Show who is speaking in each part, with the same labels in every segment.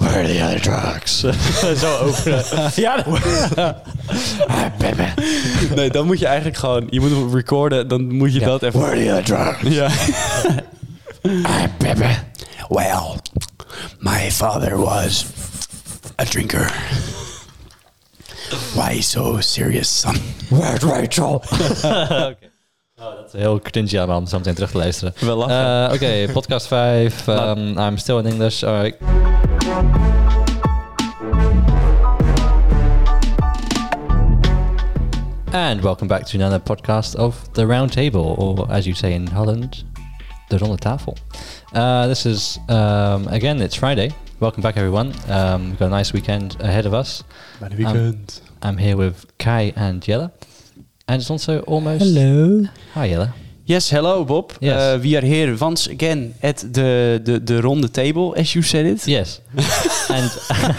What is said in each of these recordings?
Speaker 1: heard of the other drugs.
Speaker 2: Zo openen. ja, dat-
Speaker 1: Ah, baby,
Speaker 2: nee, dan moet je eigenlijk gewoon... Je moet hem recorden, dan moet je dat even...
Speaker 1: where are the other drugs?
Speaker 2: Ja.
Speaker 1: Ah, baby. Well, my father was a drinker. Why so serious, son? Where's Rachel?
Speaker 3: Oké. Oh, dat is heel cringy aan om zo meteen terug te luisteren.
Speaker 2: Wel lachen.
Speaker 3: Eh, Oké, podcast 5. Um, I'm still in English. Alright. And welcome back to another podcast of The Round Table, or as you say in Holland, De Ronde Tafel. Uh, this is, um, again, it's Friday. Welcome back, everyone. Um, we've got a nice weekend ahead of us.
Speaker 2: Mijn
Speaker 3: weekend. I'm here with Kai and Jella. And it's also almost...
Speaker 4: Hello.
Speaker 3: Hi Jelle.
Speaker 2: Yes, hello Bob.
Speaker 3: Yes.
Speaker 2: Uh, we are here once again at the, the, the ronde table, as you said it.
Speaker 3: Yes. and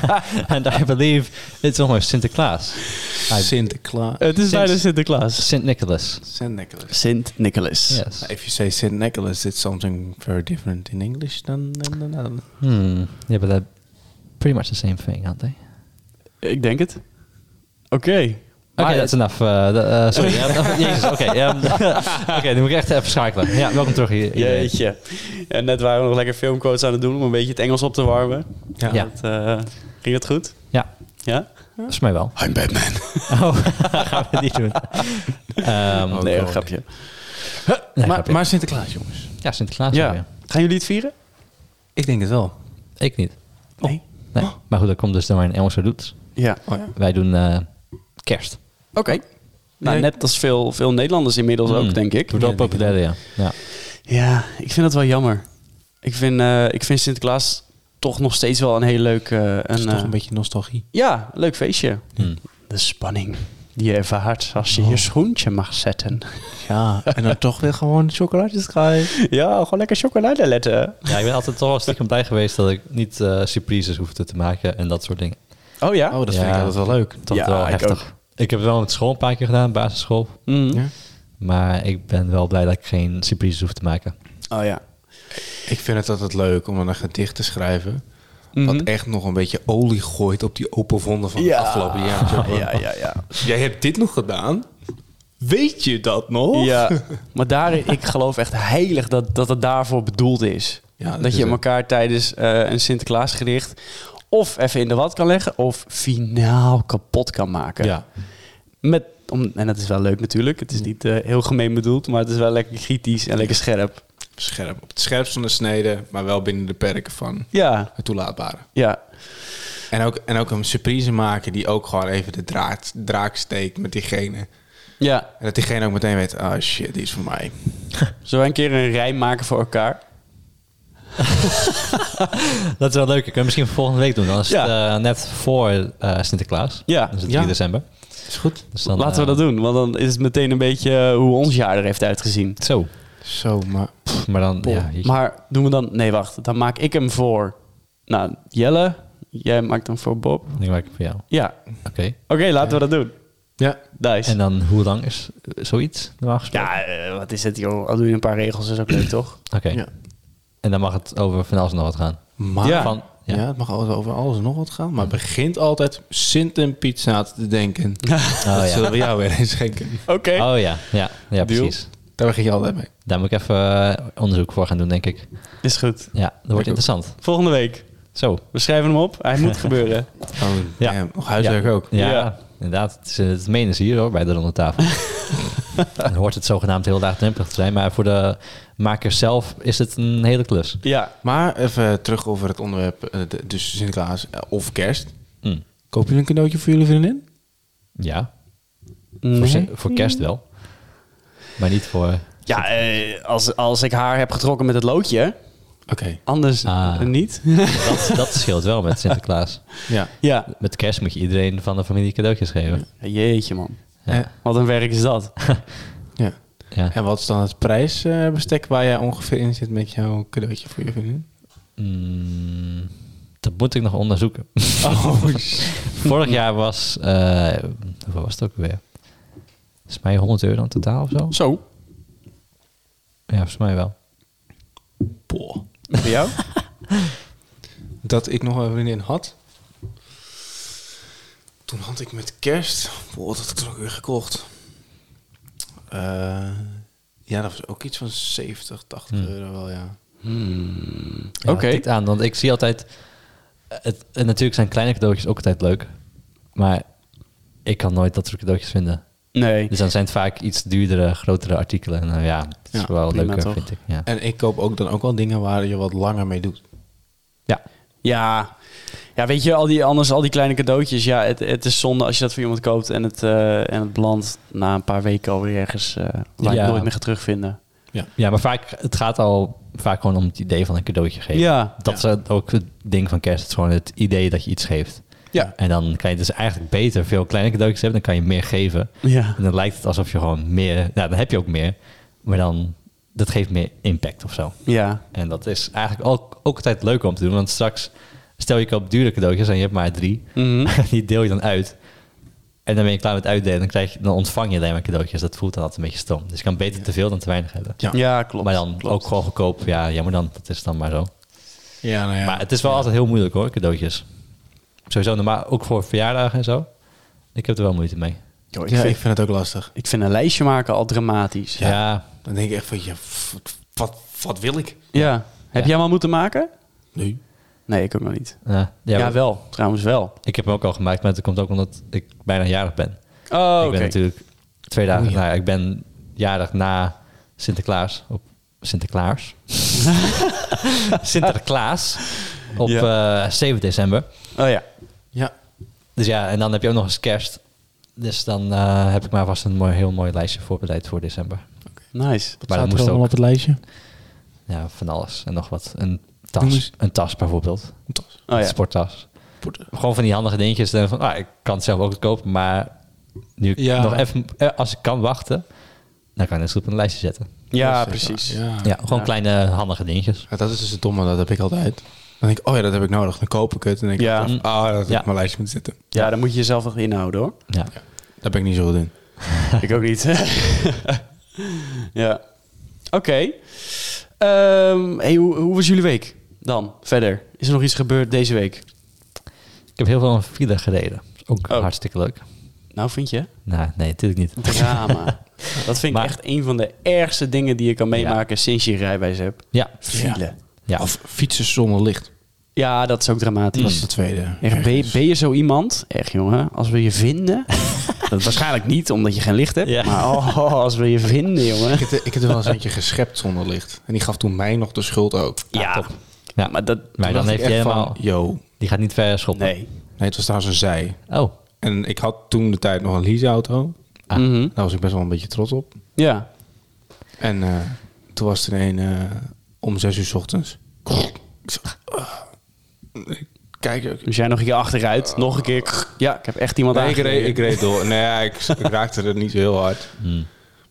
Speaker 3: and I believe it's almost Sinterklaas. I-
Speaker 4: Sinterklaas.
Speaker 2: Het is
Speaker 3: Sinds-
Speaker 2: bijna Sinterklaas.
Speaker 3: Sint Nicholas.
Speaker 4: St. Nicholas.
Speaker 2: Sint Nicholas.
Speaker 3: Yes.
Speaker 4: If you say St. Nicholas, it's something very different in English than... than, than, than.
Speaker 3: Hmm. Yeah, but they're pretty much the same thing, aren't they?
Speaker 2: Ik denk het. Oké.
Speaker 3: Oké,
Speaker 2: Maar-
Speaker 3: that's enough. Uh, the- uh, sorry. ja, Jezus, oké. ehm, Oké, nu moet ik echt even schakelen. Ja, welkom terug hier. iedereen.
Speaker 2: Jeetje. En net waren we nog lekker filmquotes aan het doen om een beetje het Engels op te warmen.
Speaker 4: Ja.
Speaker 3: Ja.
Speaker 2: Dat, eh, ging dat goed?
Speaker 3: Ja,
Speaker 2: Ja?
Speaker 3: volgens mij wel.
Speaker 1: I'm Batman.
Speaker 3: Oh, gaan we niet doen. Ehm,
Speaker 4: Oh,
Speaker 2: nee,
Speaker 4: God.
Speaker 2: grapje.
Speaker 3: nee,
Speaker 4: maar,
Speaker 3: grapje.
Speaker 4: maar Sinterklaas, jongens.
Speaker 3: ja, Sinterklaas. ook weer.
Speaker 2: Ja. Gaan jullie het vieren?
Speaker 4: Ik denk het wel.
Speaker 3: Ik niet.
Speaker 4: Nee?
Speaker 3: Nee. Maar goed, dat komt dus door mijn Engelse roots.
Speaker 2: Ja.
Speaker 4: Oh ja.
Speaker 3: Wij doen eh, kerst.
Speaker 2: Oké. Nou,
Speaker 4: Nee.
Speaker 2: net als veel, veel Nederlanders inmiddels
Speaker 3: Hmm.
Speaker 2: ook, denk ik.
Speaker 3: Wordt wel
Speaker 4: Ja, denk ik
Speaker 3: populair, ja. ja.
Speaker 2: Ja, ik vind dat wel jammer. Ik vind, eh, ik vind Sinterklaas toch nog steeds wel een heel leuk... eh,
Speaker 4: Dat
Speaker 2: een,
Speaker 4: is toch
Speaker 2: eh,
Speaker 4: een beetje nostalgie.
Speaker 2: Ja, leuk feestje.
Speaker 3: Hmm.
Speaker 2: De spanning die je ervaart als je
Speaker 4: Oh.
Speaker 2: je schoentje mag zetten.
Speaker 4: Ja, en dan toch weer gewoon chocolaatjes krijgen.
Speaker 2: Ja, gewoon lekker chocolade letten.
Speaker 3: Ja, ik ben altijd toch wel stiekem blij geweest dat ik niet eh, surprises hoefde te maken en dat soort dingen.
Speaker 2: Oh ja?
Speaker 4: Oh, dat vind
Speaker 3: Ja.
Speaker 4: ik altijd wel leuk.
Speaker 3: Toch
Speaker 2: Ja,
Speaker 3: wel
Speaker 2: ik
Speaker 3: heftig. Ik, heb het wel met school een paar keer gedaan, basisschool.
Speaker 2: Mm.
Speaker 4: Ja.
Speaker 3: Maar ik ben wel blij dat ik geen surprises hoef te maken.
Speaker 2: Oh ja.
Speaker 4: Ik vind het altijd leuk om een gedicht te schrijven.
Speaker 2: Mhm.
Speaker 4: Wat echt nog een beetje olie gooit op die open wonden van
Speaker 2: Ja.
Speaker 4: het afgelopen jaar.
Speaker 2: Ja, ja, ja.
Speaker 4: Jij hebt dit nog gedaan? Weet je dat nog?
Speaker 2: Ja, maar daar, ik geloof echt heilig dat, dat het daarvoor bedoeld is.
Speaker 4: Ja,
Speaker 2: dat
Speaker 4: dat is
Speaker 2: je
Speaker 4: het.
Speaker 2: elkaar tijdens eh, een Sinterklaasgericht of even in de wat kan leggen of finaal kapot kan maken.
Speaker 4: Ja.
Speaker 2: Met, om, en dat is wel leuk natuurlijk. Het is niet eh, heel gemeen bedoeld, maar het is wel lekker kritisch en lekker scherp.
Speaker 4: Scherp. Op het scherpst van de snede, maar wel binnen de perken van
Speaker 2: Ja,
Speaker 4: het toelaatbare.
Speaker 2: ja.
Speaker 4: En ook, en ook een surprise maken die ook gewoon even de draad, draak steekt met diegene.
Speaker 2: Ja,
Speaker 4: En dat diegene ook meteen weet, ah shit, die is voor mij.
Speaker 2: zullen wij een keer een rij maken voor elkaar?
Speaker 3: Dat is wel leuk. Ik kan misschien volgende week doen. Dan is het
Speaker 2: Ja.
Speaker 3: eh, net voor eh, Sinterklaas.
Speaker 2: Ja.
Speaker 3: Dan is het
Speaker 4: Ja.
Speaker 3: 3 december.
Speaker 4: Is goed.
Speaker 3: Dus dan,
Speaker 2: Laten we dat doen, want dan is het meteen een beetje eh, hoe ons jaar er heeft uitgezien.
Speaker 3: Zo.
Speaker 4: Zo, maar...
Speaker 3: Pff, maar dan... Ja, jeetje.
Speaker 2: Maar doen we dan... Nee, wacht. Dan maak ik hem voor... Nou, Jelle. Jij maakt hem voor Bob.
Speaker 3: Nu maak ik voor jou.
Speaker 2: Ja.
Speaker 3: Oké.
Speaker 2: Oké, laten we dat doen.
Speaker 4: Ja,
Speaker 2: Nice.
Speaker 3: En dan hoe lang is eh, zoiets normaal gesproken?
Speaker 2: ja, eh, wat is het joh. Al doe je een paar regels, is ook leuk toch?
Speaker 3: Oké.
Speaker 4: Ja.
Speaker 3: En dan mag het over van alles en nog wat gaan.
Speaker 4: maar...
Speaker 2: Ja.
Speaker 3: Van,
Speaker 4: Ja. het mag altijd over alles en nog wat gaan. Maar begint altijd Sint en Pizza te denken. dat
Speaker 3: ja.
Speaker 4: zullen we jou weer eens schenken.
Speaker 2: Oké.
Speaker 3: Oh ja, ja,
Speaker 2: Deal.
Speaker 3: ja precies.
Speaker 4: Daar begin je altijd mee.
Speaker 3: Daar moet ik even eh, onderzoek voor gaan doen, denk ik.
Speaker 2: Is goed.
Speaker 3: Ja, dat wordt
Speaker 4: ook.
Speaker 3: interessant.
Speaker 2: Volgende week.
Speaker 3: Zo.
Speaker 2: We schrijven hem op. Hij moet gebeuren.
Speaker 4: Oh,
Speaker 3: Ja.
Speaker 4: damn, nog huiswerk ook.
Speaker 3: Ja,
Speaker 2: Ja.
Speaker 3: inderdaad. Het, is, eh, het menen ze hier hoor, bij de ronde tafel. Dan hoort het zogenaamd heel laagdrempelig te zijn, maar voor de makers zelf is het een hele klus.
Speaker 2: Ja.
Speaker 4: Maar even terug over het onderwerp, eh, de- dus Sinterklaas eh, of kerst.
Speaker 3: Hm.
Speaker 4: Koop je een cadeautje voor jullie vriendin?
Speaker 3: Ja, voor, ze- voor kerst wel. Maar niet voor...
Speaker 2: Ja, eh, als, als ik haar heb getrokken met het loodje.
Speaker 4: Oké,
Speaker 2: Anders
Speaker 3: Ah.
Speaker 2: niet.
Speaker 3: Dat, dat scheelt wel met Sinterklaas.
Speaker 4: ja.
Speaker 2: ja.
Speaker 3: Met kerst moet je iedereen van de familie cadeautjes geven.
Speaker 2: Jeetje man.
Speaker 4: Eh,
Speaker 2: Wat een werk is dat.
Speaker 4: ja.
Speaker 3: Ja.
Speaker 4: En wat is dan het prijsbestek waar jij ongeveer in zit met jouw cadeautje voor je vriendin?
Speaker 3: Mm, dat moet ik nog onderzoeken.
Speaker 4: Oh,
Speaker 3: Vorig jaar was, eh hoeveel was het ook weer? Volgens mij 100 euro in totaal of zo.
Speaker 2: Zo.
Speaker 3: Ja, volgens mij wel.
Speaker 2: Voor jou?
Speaker 4: dat ik nog een vriendin had. Toen had ik met kerst... Boah, dat had ik toen ook weer gekocht. Eh, ja, dat was ook iets van 70, 80
Speaker 3: Hmm.
Speaker 4: euro wel, ja.
Speaker 3: Ja,
Speaker 2: Oké.
Speaker 3: tikt aan, want ik zie altijd... Het, en natuurlijk zijn kleine cadeautjes ook altijd leuk. Maar ik kan nooit dat soort cadeautjes vinden.
Speaker 2: Nee.
Speaker 3: Dus dan zijn het vaak iets duurdere, grotere artikelen. En eh, ja, dat is
Speaker 2: Ja,
Speaker 3: wel
Speaker 2: prima
Speaker 3: leuker,
Speaker 2: toch?
Speaker 3: vind ik. Ja.
Speaker 4: En ik koop ook dan ook wel dingen waar je wat langer mee doet.
Speaker 3: ja.
Speaker 2: Ja. Ja, weet je, al die, anders al die kleine cadeautjes. Ja, het, het is zonde als je dat voor iemand koopt en het, eh, en het belandt na een paar weken alweer ergens eh, waar je
Speaker 3: Ja.
Speaker 2: het nooit meer gaat terugvinden.
Speaker 3: ja, maar vaak, het gaat al vaak gewoon om het idee van een cadeautje geven.
Speaker 2: Ja.
Speaker 3: Dat is ook het ding van kerst. Het is gewoon het idee dat je iets geeft.
Speaker 4: Ja.
Speaker 3: En dan kan je dus eigenlijk beter veel kleine cadeautjes hebben. Dan kan je meer geven.
Speaker 2: Ja.
Speaker 3: En dan lijkt het alsof je gewoon meer... Nou, dan heb je ook meer. Maar dan... Dat geeft meer impact of zo.
Speaker 2: Ja.
Speaker 3: En dat is eigenlijk ook, ook altijd leuk om te doen. Want straks stel je koopt dure cadeautjes en je hebt maar drie.
Speaker 2: Mhm.
Speaker 3: Die deel je dan uit. En dan ben je klaar met uitdelen. Dan, krijg je, dan ontvang je alleen maar cadeautjes. Dat voelt dan altijd een beetje stom. Dus je kan beter te veel dan te weinig hebben.
Speaker 4: Ja.
Speaker 2: Ja, klopt.
Speaker 3: maar dan
Speaker 2: klopt.
Speaker 3: ook gewoon goedkoop. Ja, jammer dan. Dat is dan maar zo.
Speaker 4: Ja, nou ja.
Speaker 3: Maar het is wel altijd heel moeilijk hoor, cadeautjes. Sowieso normaal, ook voor verjaardagen en zo. Ik heb er wel moeite mee.
Speaker 2: Yo, ik,
Speaker 4: ja, ik
Speaker 2: vind,
Speaker 4: vind het ook lastig.
Speaker 2: ik vind een lijstje maken al dramatisch.
Speaker 3: Ja,
Speaker 4: Dan denk ik echt van, ja, f- wat, wat wil ik?
Speaker 2: Ja. Heb
Speaker 3: Ja.
Speaker 2: jij hem al moeten maken?
Speaker 4: Nu?
Speaker 2: Nee, ik ook nog niet.
Speaker 3: eh, ja,
Speaker 2: Ja, wel. Trouwens wel.
Speaker 3: ik heb hem ook al gemaakt, maar dat komt ook omdat ik bijna jarig ben.
Speaker 2: Oh,
Speaker 3: ik ben natuurlijk twee dagen na. Ik ben jarig na Sinterklaas. Op Sinterklaas. Sinterklaas. Op eh, 7 december.
Speaker 2: Oh ja.
Speaker 4: Ja.
Speaker 3: Dus ja, en dan heb je ook nog eens kerst. Dus dan eh, heb ik maar vast een mooi, heel mooi lijstje voorbereid voor december.
Speaker 2: Nice.
Speaker 3: maar dat moest
Speaker 4: allemaal
Speaker 3: ook
Speaker 4: op het lijstje?
Speaker 3: ja, van alles en nog wat. Een
Speaker 4: Noem
Speaker 3: tas,
Speaker 4: eens.
Speaker 3: een tas bijvoorbeeld.
Speaker 2: Oh
Speaker 3: Een
Speaker 2: ja.
Speaker 3: sporttas. Gewoon van die handige dingetjes. Dan van, ah, ik kan het zelf ook kopen, maar nu ik
Speaker 4: Ja.
Speaker 3: nog even, eh, als ik kan wachten, dan kan ik het goed op een lijstje zetten.
Speaker 2: Ja, precies.
Speaker 4: Ja.
Speaker 3: Ja, gewoon kleine handige dingetjes.
Speaker 4: Ja, dat is dus het domme, dat heb ik altijd. Dan denk ik, oh ja, dat heb ik nodig. Dan koop ik het. En dan denk
Speaker 2: Ja.
Speaker 4: ik, ah, dat heb ik
Speaker 3: Ja.
Speaker 4: op mijn lijstje moeten zetten.
Speaker 2: Ja, dan moet je jezelf echt inhouden hoor.
Speaker 3: Ja.
Speaker 4: Daar ben ik niet zo goed in.
Speaker 2: ik ook niet. ja. Oké. Ehm, hey, hoe, hoe was jullie week dan? Verder. Is er nog iets gebeurd deze week?
Speaker 3: Ik heb heel veel een file gereden. Ook
Speaker 2: Oh.
Speaker 3: hartstikke leuk.
Speaker 2: Nou, vind je?
Speaker 3: Nou, nee, natuurlijk niet.
Speaker 2: Drama. Dat vind ik
Speaker 3: Maar-
Speaker 2: echt een van de ergste dingen die je kan meemaken sinds je je rijbewijs hebt.
Speaker 3: Ja,
Speaker 2: File. Ja,
Speaker 3: ja.
Speaker 4: Of fietsen zonder licht.
Speaker 2: dat is ook
Speaker 4: Dat is
Speaker 2: dramatisch.
Speaker 4: de tweede.
Speaker 2: Echt, ben, je, ben je zo iemand? Echt jongen, als we je vinden. dat waarschijnlijk niet, omdat je geen licht hebt.
Speaker 3: Ja.
Speaker 2: Maar oh, als we je vinden, jongen.
Speaker 4: Ik heb, er- ik heb er wel eens eentje geschept zonder licht. En die gaf toen mij nog de schuld ook.
Speaker 2: Ja,
Speaker 3: Ja.
Speaker 2: maar dat...
Speaker 3: Maar dan
Speaker 4: Dacht ik
Speaker 3: heeft hij
Speaker 4: echt van,
Speaker 3: helemaal...
Speaker 4: Yo.
Speaker 3: Die gaat niet ver schoppen.
Speaker 2: Nee.
Speaker 4: Nee, het was trouwens een zij.
Speaker 3: Oh,
Speaker 4: En ik had toen de tijd nog een leaseauto.
Speaker 3: Ah.
Speaker 2: Mhm.
Speaker 4: Daar was ik best wel een beetje trots op.
Speaker 2: Ja.
Speaker 4: En eh, toen was er een eh, om zes uur 's ochtends. Ik zo, ah. Ik Kijk, ik,
Speaker 2: Dus jij nog een keer achteruit, nog een keer. Ja, ik heb echt iemand
Speaker 4: nee, ik, reed,
Speaker 2: aangereden.
Speaker 4: ik reed door. Nee, ja, ik, ik raakte er niet zo heel hard.
Speaker 3: Hmm.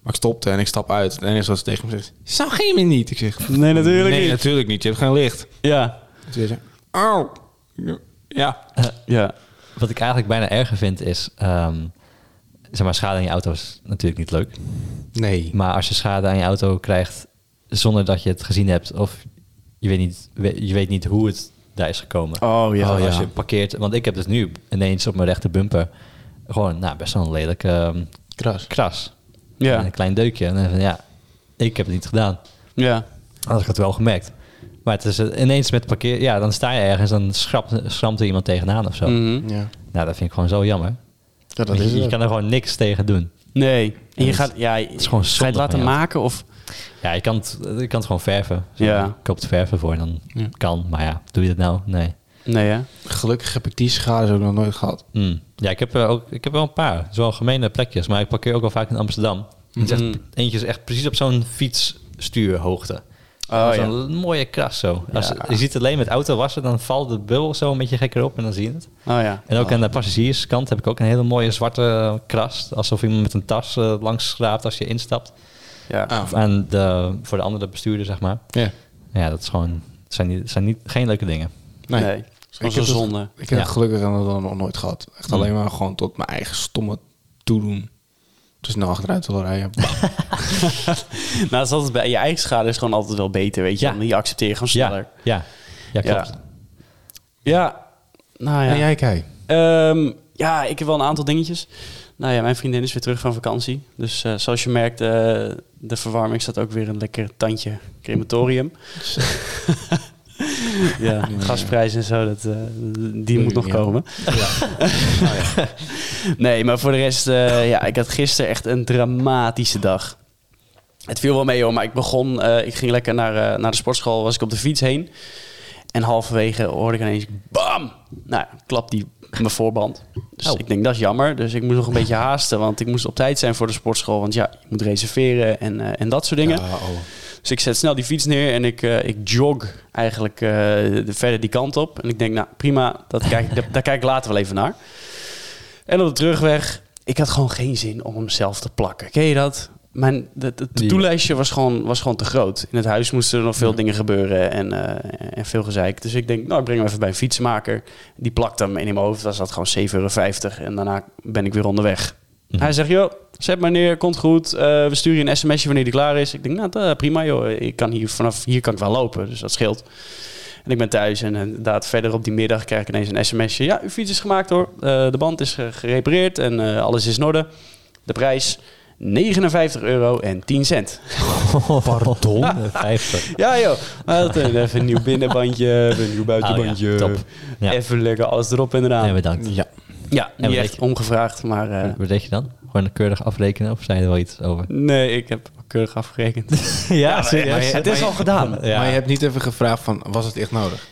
Speaker 4: Maar ik stopte en ik stap uit. En enige wat ze tegen me zegt, zou geen meer niet. Ik zeg,
Speaker 2: Nee, natuurlijk
Speaker 4: nee,
Speaker 2: niet.
Speaker 4: natuurlijk niet. Je hebt geen licht.
Speaker 2: Ja.
Speaker 4: Toen zei ze, auw. Ja.
Speaker 2: Ja.
Speaker 3: Wat ik eigenlijk bijna erger vind is... ehm, zeg maar, schade aan je auto is natuurlijk niet leuk.
Speaker 4: Nee.
Speaker 3: Maar als je schade aan je auto krijgt zonder dat je het gezien hebt... of je weet niet, we- je weet niet hoe het daar is gekomen.
Speaker 2: Oh ja.
Speaker 3: Gewoon
Speaker 2: ja.
Speaker 3: Als je parkeert... Want ik heb dus nu ineens op mijn rechter bumper... gewoon nou, best wel een lelijk ehm,
Speaker 4: Kras.
Speaker 3: kras.
Speaker 2: Ja.
Speaker 3: En Een klein deukje. En dan van, ja, ik heb het niet gedaan.
Speaker 2: ja.
Speaker 3: Had ik het wel gemerkt. Maar het is eh, ineens met parkeer... Ja, dan sta je ergens dan schrapt, schramt er iemand tegenaan of zo.
Speaker 2: Mhm.
Speaker 4: Ja.
Speaker 3: Nou, dat vind ik gewoon zo jammer.
Speaker 4: ja, dat
Speaker 3: Want
Speaker 4: is
Speaker 3: je, je
Speaker 4: het.
Speaker 3: kan er gewoon niks tegen doen.
Speaker 2: Nee. En je
Speaker 3: dat-
Speaker 2: gaat, ja, je
Speaker 3: is gewoon
Speaker 2: ga je het
Speaker 3: zonde
Speaker 2: laten
Speaker 3: van jou.
Speaker 2: maken of.
Speaker 3: Ja, je kan het, je kan het gewoon verven. Zo,
Speaker 2: Ja.
Speaker 3: Je koopt verven voor en dan kan. Maar ja, doe je dat nou? Nee.
Speaker 2: Nee, hè?
Speaker 4: Gelukkig heb ik die schade ook nog nooit gehad.
Speaker 3: Mm. Ja, ik heb, er ook, ik heb wel een paar. Het is wel gemene plekjes. Maar ik parkeer ook wel vaak in Amsterdam. En het is
Speaker 2: Mhm.
Speaker 3: echt- eentje is echt precies op zo'n fietsstuurhoogte.
Speaker 2: Oh,
Speaker 3: zo'n
Speaker 2: ja.
Speaker 3: mooie kras zo. Als, Je ziet het alleen met autowassen, dan valt de bubbel zo een beetje gekker op en dan zie je het.
Speaker 2: Oh ja.
Speaker 3: En ook aan de passagierskant heb ik ook een hele mooie zwarte kras. Alsof iemand met een tas eh, langs schraapt als je instapt.
Speaker 2: Ja.
Speaker 4: Ah.
Speaker 3: Of aan de, voor de andere bestuurder, zeg maar.
Speaker 4: Ja.
Speaker 3: Ja, dat is gewoon, het zijn, niet, het zijn niet, geen leuke dingen.
Speaker 2: Nee.
Speaker 4: Nee.
Speaker 2: Het is gewoon
Speaker 4: Ik
Speaker 2: zo'n
Speaker 4: heb het-
Speaker 2: zonde.
Speaker 4: Ik heb
Speaker 3: Ja.
Speaker 4: het gelukkig dan nog nooit gehad. Echt alleen maar gewoon tot mijn eigen stomme toedoen. Dus naar achteruit wil rijden.
Speaker 2: Nou, dat is altijd bij je eigen schade is gewoon altijd wel beter, weet je.
Speaker 3: Ja.
Speaker 2: Want Die accepteer je gewoon
Speaker 3: Ja,
Speaker 2: sneller.
Speaker 3: ja, ja,
Speaker 2: Ja.
Speaker 3: klopt.
Speaker 2: Ja, nou ja.
Speaker 4: En jij, Kai?
Speaker 2: Ehm, ja, ik heb wel een aantal dingetjes. Nou ja, mijn vriendin is weer terug van vakantie. Dus eh, zoals je merkt, eh, de verwarming staat ook weer een lekker tandje crematorium. ja, gasprijs en zo, dat, eh, die moet nog
Speaker 4: Ja. Nou
Speaker 2: komen. nee, maar voor de rest, eh, ja, ik had gisteren echt een dramatische dag. Het viel wel mee hoor, maar ik begon, eh, ik ging lekker naar, eh, naar de sportschool, was ik op de fiets heen. En halverwege hoorde ik ineens, bam! Nou, klap die mijn voorband. Dus
Speaker 3: Oh.
Speaker 2: ik denk, dat is jammer. Dus ik moest nog een beetje haasten, want ik moest op tijd zijn voor de sportschool. Want ja, je moet reserveren en, eh, en dat soort dingen.
Speaker 4: Ja, oh.
Speaker 2: Dus ik zet snel die fiets neer en ik, eh, ik jog eigenlijk eh, de- verder die kant op. En ik denk, nou prima, dat kijk, ik- daar, daar kijk ik later wel even naar. En op de terugweg, ik had gewoon geen zin om hem zelf te plakken. Ken je dat? Mijn het het
Speaker 3: Die-
Speaker 2: toelijstje was gewoon, was gewoon te groot. In het huis moesten er nog veel dingen gebeuren en, eh, en veel gezeik. Dus ik denk, nou, ik breng hem even bij een fietsenmaker. Die plakt hem en in mijn hoofd was dat gewoon 7,50 euro. En daarna ben ik weer onderweg.
Speaker 3: Mhm.
Speaker 2: Hij zegt, joh, zet maar neer, komt goed. Eh, we sturen je een sms'je wanneer die klaar is. Ik denk, nou, dat, prima joh. Ik kan hier, vanaf hier kan ik wel lopen, dus dat scheelt. En ik ben thuis en inderdaad verder op die middag krijg ik ineens een sms'je. Ja, uw fiets is gemaakt hoor. Eh, de band is ge- gerepareerd en eh, alles is in orde. De prijs... 59 euro en 10 cent.
Speaker 3: Pardon? 50.
Speaker 2: Ja joh, Maar dat, eh, even een nieuw binnenbandje, even een nieuw buitenbandje.
Speaker 3: Oh ja, top. Ja.
Speaker 2: Even lekker alles erop en eraan.
Speaker 3: Nee, bedankt.
Speaker 4: Ja.
Speaker 2: Ja,
Speaker 3: En
Speaker 2: niet
Speaker 3: wat
Speaker 2: echt
Speaker 3: deed
Speaker 2: omgevraagd, maar... eh,
Speaker 3: Wat deed je dan? Gewoon keurig afrekenen of zei je er wel iets over?
Speaker 2: nee, ik heb eh, keurig afgerekend.
Speaker 3: Ja,
Speaker 4: serieus.
Speaker 3: Het is al gedaan. Ja.
Speaker 4: Maar je hebt niet even gevraagd van, was het echt nodig?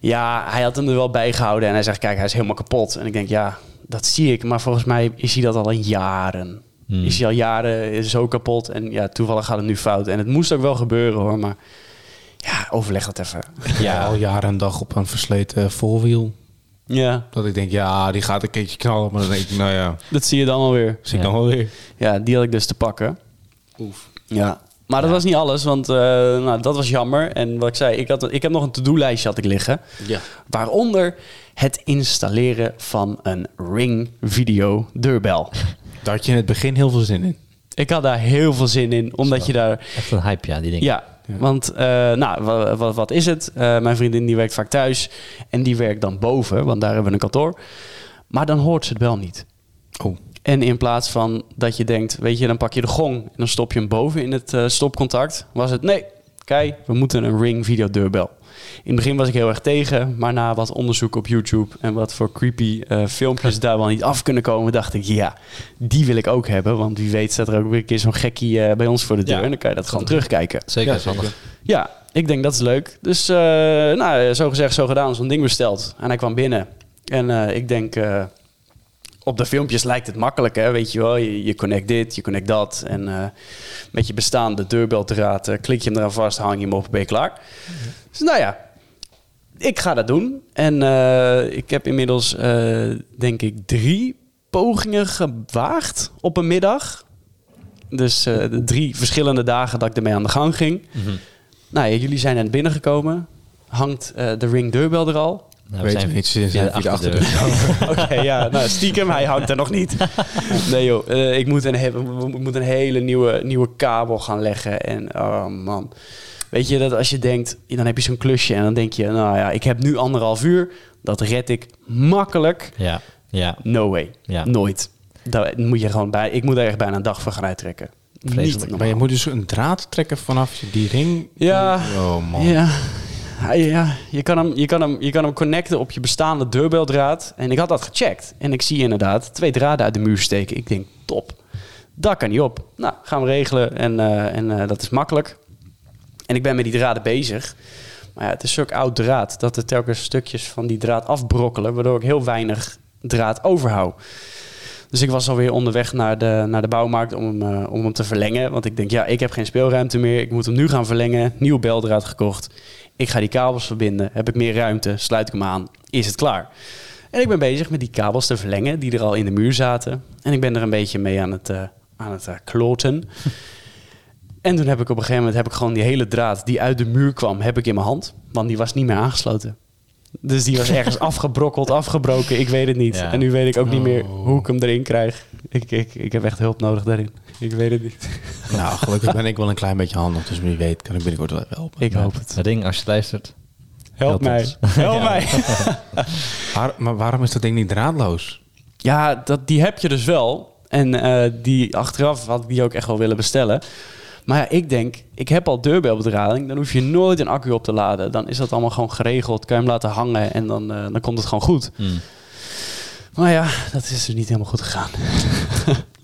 Speaker 2: ja, hij had hem er wel bij gehouden en hij zegt, kijk, hij is helemaal kapot. En ik denk, ja, dat zie ik, maar volgens mij is hij dat al in jaren.
Speaker 3: Hmm.
Speaker 2: Is hij al jaren zo kapot en ja, toevallig gaat het nu fout. En het moest ook wel gebeuren hoor, maar ja, overleg dat even.
Speaker 4: Ja. Al jaren en dag op een versleten voorwiel.
Speaker 2: Ja,
Speaker 4: Dat ik denk, ja, die gaat een keertje knallen. Maar dan denk ik, nou ja,
Speaker 2: dat zie je dan alweer.
Speaker 4: zie ik
Speaker 3: Ja.
Speaker 4: dan wel weer.
Speaker 2: Ja, die had ik dus te pakken.
Speaker 4: Oef.
Speaker 2: Ja. Maar dat was niet alles, want eh, nou, dat was jammer. En wat ik zei, ik, had, ik heb nog een to-do-lijstje had ik liggen.
Speaker 4: Ja.
Speaker 2: Waaronder het installeren van een Ring Video deurbel.
Speaker 4: Daar had je in het begin heel veel zin in.
Speaker 2: Ik had daar heel veel zin in, omdat je daar...
Speaker 3: Echt een hype, ja, die ding.
Speaker 2: Ja, want eh, nou, wa- wa- wat is het? Eh, mijn vriendin die werkt vaak thuis en die werkt dan boven, want daar hebben we een kantoor. Maar dan hoort ze het wel niet.
Speaker 4: Oh.
Speaker 2: En in plaats van dat je denkt, weet je, dan pak je de gong en dan stop je hem boven in het eh, stopcontact, was het nee. Kijk, we moeten een Ring video deurbel. In het begin was ik heel erg tegen, maar na wat onderzoek op YouTube en wat voor creepy eh, filmpjes daar wel niet af kunnen komen, dacht ik ja, die wil ik ook hebben. Want wie weet staat er ook weer een keer zo'n gekkie eh, bij ons voor de deur
Speaker 3: Ja.
Speaker 2: en dan kan je dat gewoon terugkijken.
Speaker 3: Zeker,
Speaker 4: Ja,
Speaker 3: is handig.
Speaker 2: Ja, ik denk dat is leuk. Dus eh, nou, zo gezegd, zo gedaan. Zo'n ding besteld. En hij kwam binnen. En eh, ik denk, eh, op de filmpjes lijkt het makkelijk, hè? Weet je wel, je, je connect dit, je connect dat. En eh, met je bestaande deurbeldraad eh, klik je hem eraan vast, hang je hem op, ben je klaar. Dus nou ja, ik ga dat doen. En eh, ik heb inmiddels, eh, denk ik, drie pogingen gewaagd op een middag. Dus eh, de drie verschillende dagen dat ik ermee aan de gang ging.
Speaker 3: Mhm.
Speaker 2: Nou ja, jullie zijn net binnengekomen. Hangt eh, de ring deurbel er al?
Speaker 3: Nou,
Speaker 4: Weet we niet, ze zijn via de achterdeur.
Speaker 2: Oké, ja, nou, stiekem, hij hangt er nog niet. Nee joh, eh, ik moet een, he- we moeten een hele nieuwe, nieuwe kabel gaan leggen. En oh man, weet je, dat als je denkt, dan heb je zo'n klusje en dan denk je, nou ja, ik heb nu anderhalf uur, dat red ik makkelijk.
Speaker 3: Ja, ja.
Speaker 2: No way,
Speaker 3: Ja.
Speaker 2: nooit. Daar moet je gewoon bij, ik moet er echt bijna een dag voor gaan uittrekken. Niet
Speaker 3: Vreselijk.
Speaker 4: Maar je
Speaker 2: normaal.
Speaker 4: moet dus een draad trekken vanaf je- die ring.
Speaker 2: Ja.
Speaker 4: Oh man.
Speaker 2: Ja. Hij, Ja, je kan, hem, je, kan hem, je kan hem connecten op je bestaande deurbeldraad. En ik had dat gecheckt. En ik zie inderdaad twee draden uit de muur steken. Ik denk, top. Dat kan niet op. Nou, gaan we regelen. En, eh, en eh, dat is makkelijk. En ik ben met die draden bezig. Maar ja, het is zulk oud draad dat er telkens stukjes van die draad afbrokkelen. Waardoor ik heel weinig draad overhoud. Dus ik was alweer onderweg naar de, naar de bouwmarkt om hem, eh, om hem te verlengen. Want ik denk, ja, ik heb geen speelruimte meer. Ik moet hem nu gaan verlengen. Nieuw beldraad gekocht. Ik ga die kabels verbinden. Heb ik meer ruimte? Sluit ik hem aan? Is het klaar? En ik ben bezig met die kabels te verlengen die er al in de muur zaten. En ik ben er een beetje mee aan het, eh, aan het eh, kloten. En toen heb ik op een gegeven moment heb ik gewoon die hele draad die uit de muur kwam, heb ik in mijn hand. Want die was niet meer aangesloten. Dus die was ergens afgebrokkeld, afgebroken. Ik weet het niet.
Speaker 3: Ja. Oh.
Speaker 2: En nu weet ik ook niet meer hoe ik hem erin krijg. Ik, ik, ik heb echt hulp nodig daarin. Ik weet het niet.
Speaker 4: Nou, gelukkig ben ik wel een klein beetje handig. Dus wie weet kan ik binnenkort wel helpen.
Speaker 2: Ik hoop het.
Speaker 3: Ring, als je luistert.
Speaker 2: Help
Speaker 3: Help
Speaker 2: mij.
Speaker 3: ons.
Speaker 2: Help mij.
Speaker 4: Waar- maar waarom is dat ding niet draadloos?
Speaker 2: Ja, dat, die heb je dus wel. En eh, die achteraf had ik die ook echt wel willen bestellen. Maar ja, ik denk, ik heb al deurbelbedrading. Dan hoef je nooit een accu op te laden. Dan is dat allemaal gewoon geregeld. Kan je hem laten hangen en dan, eh, dan komt het gewoon goed.
Speaker 3: Hmm.
Speaker 2: Maar ja, dat is dus niet helemaal goed gegaan.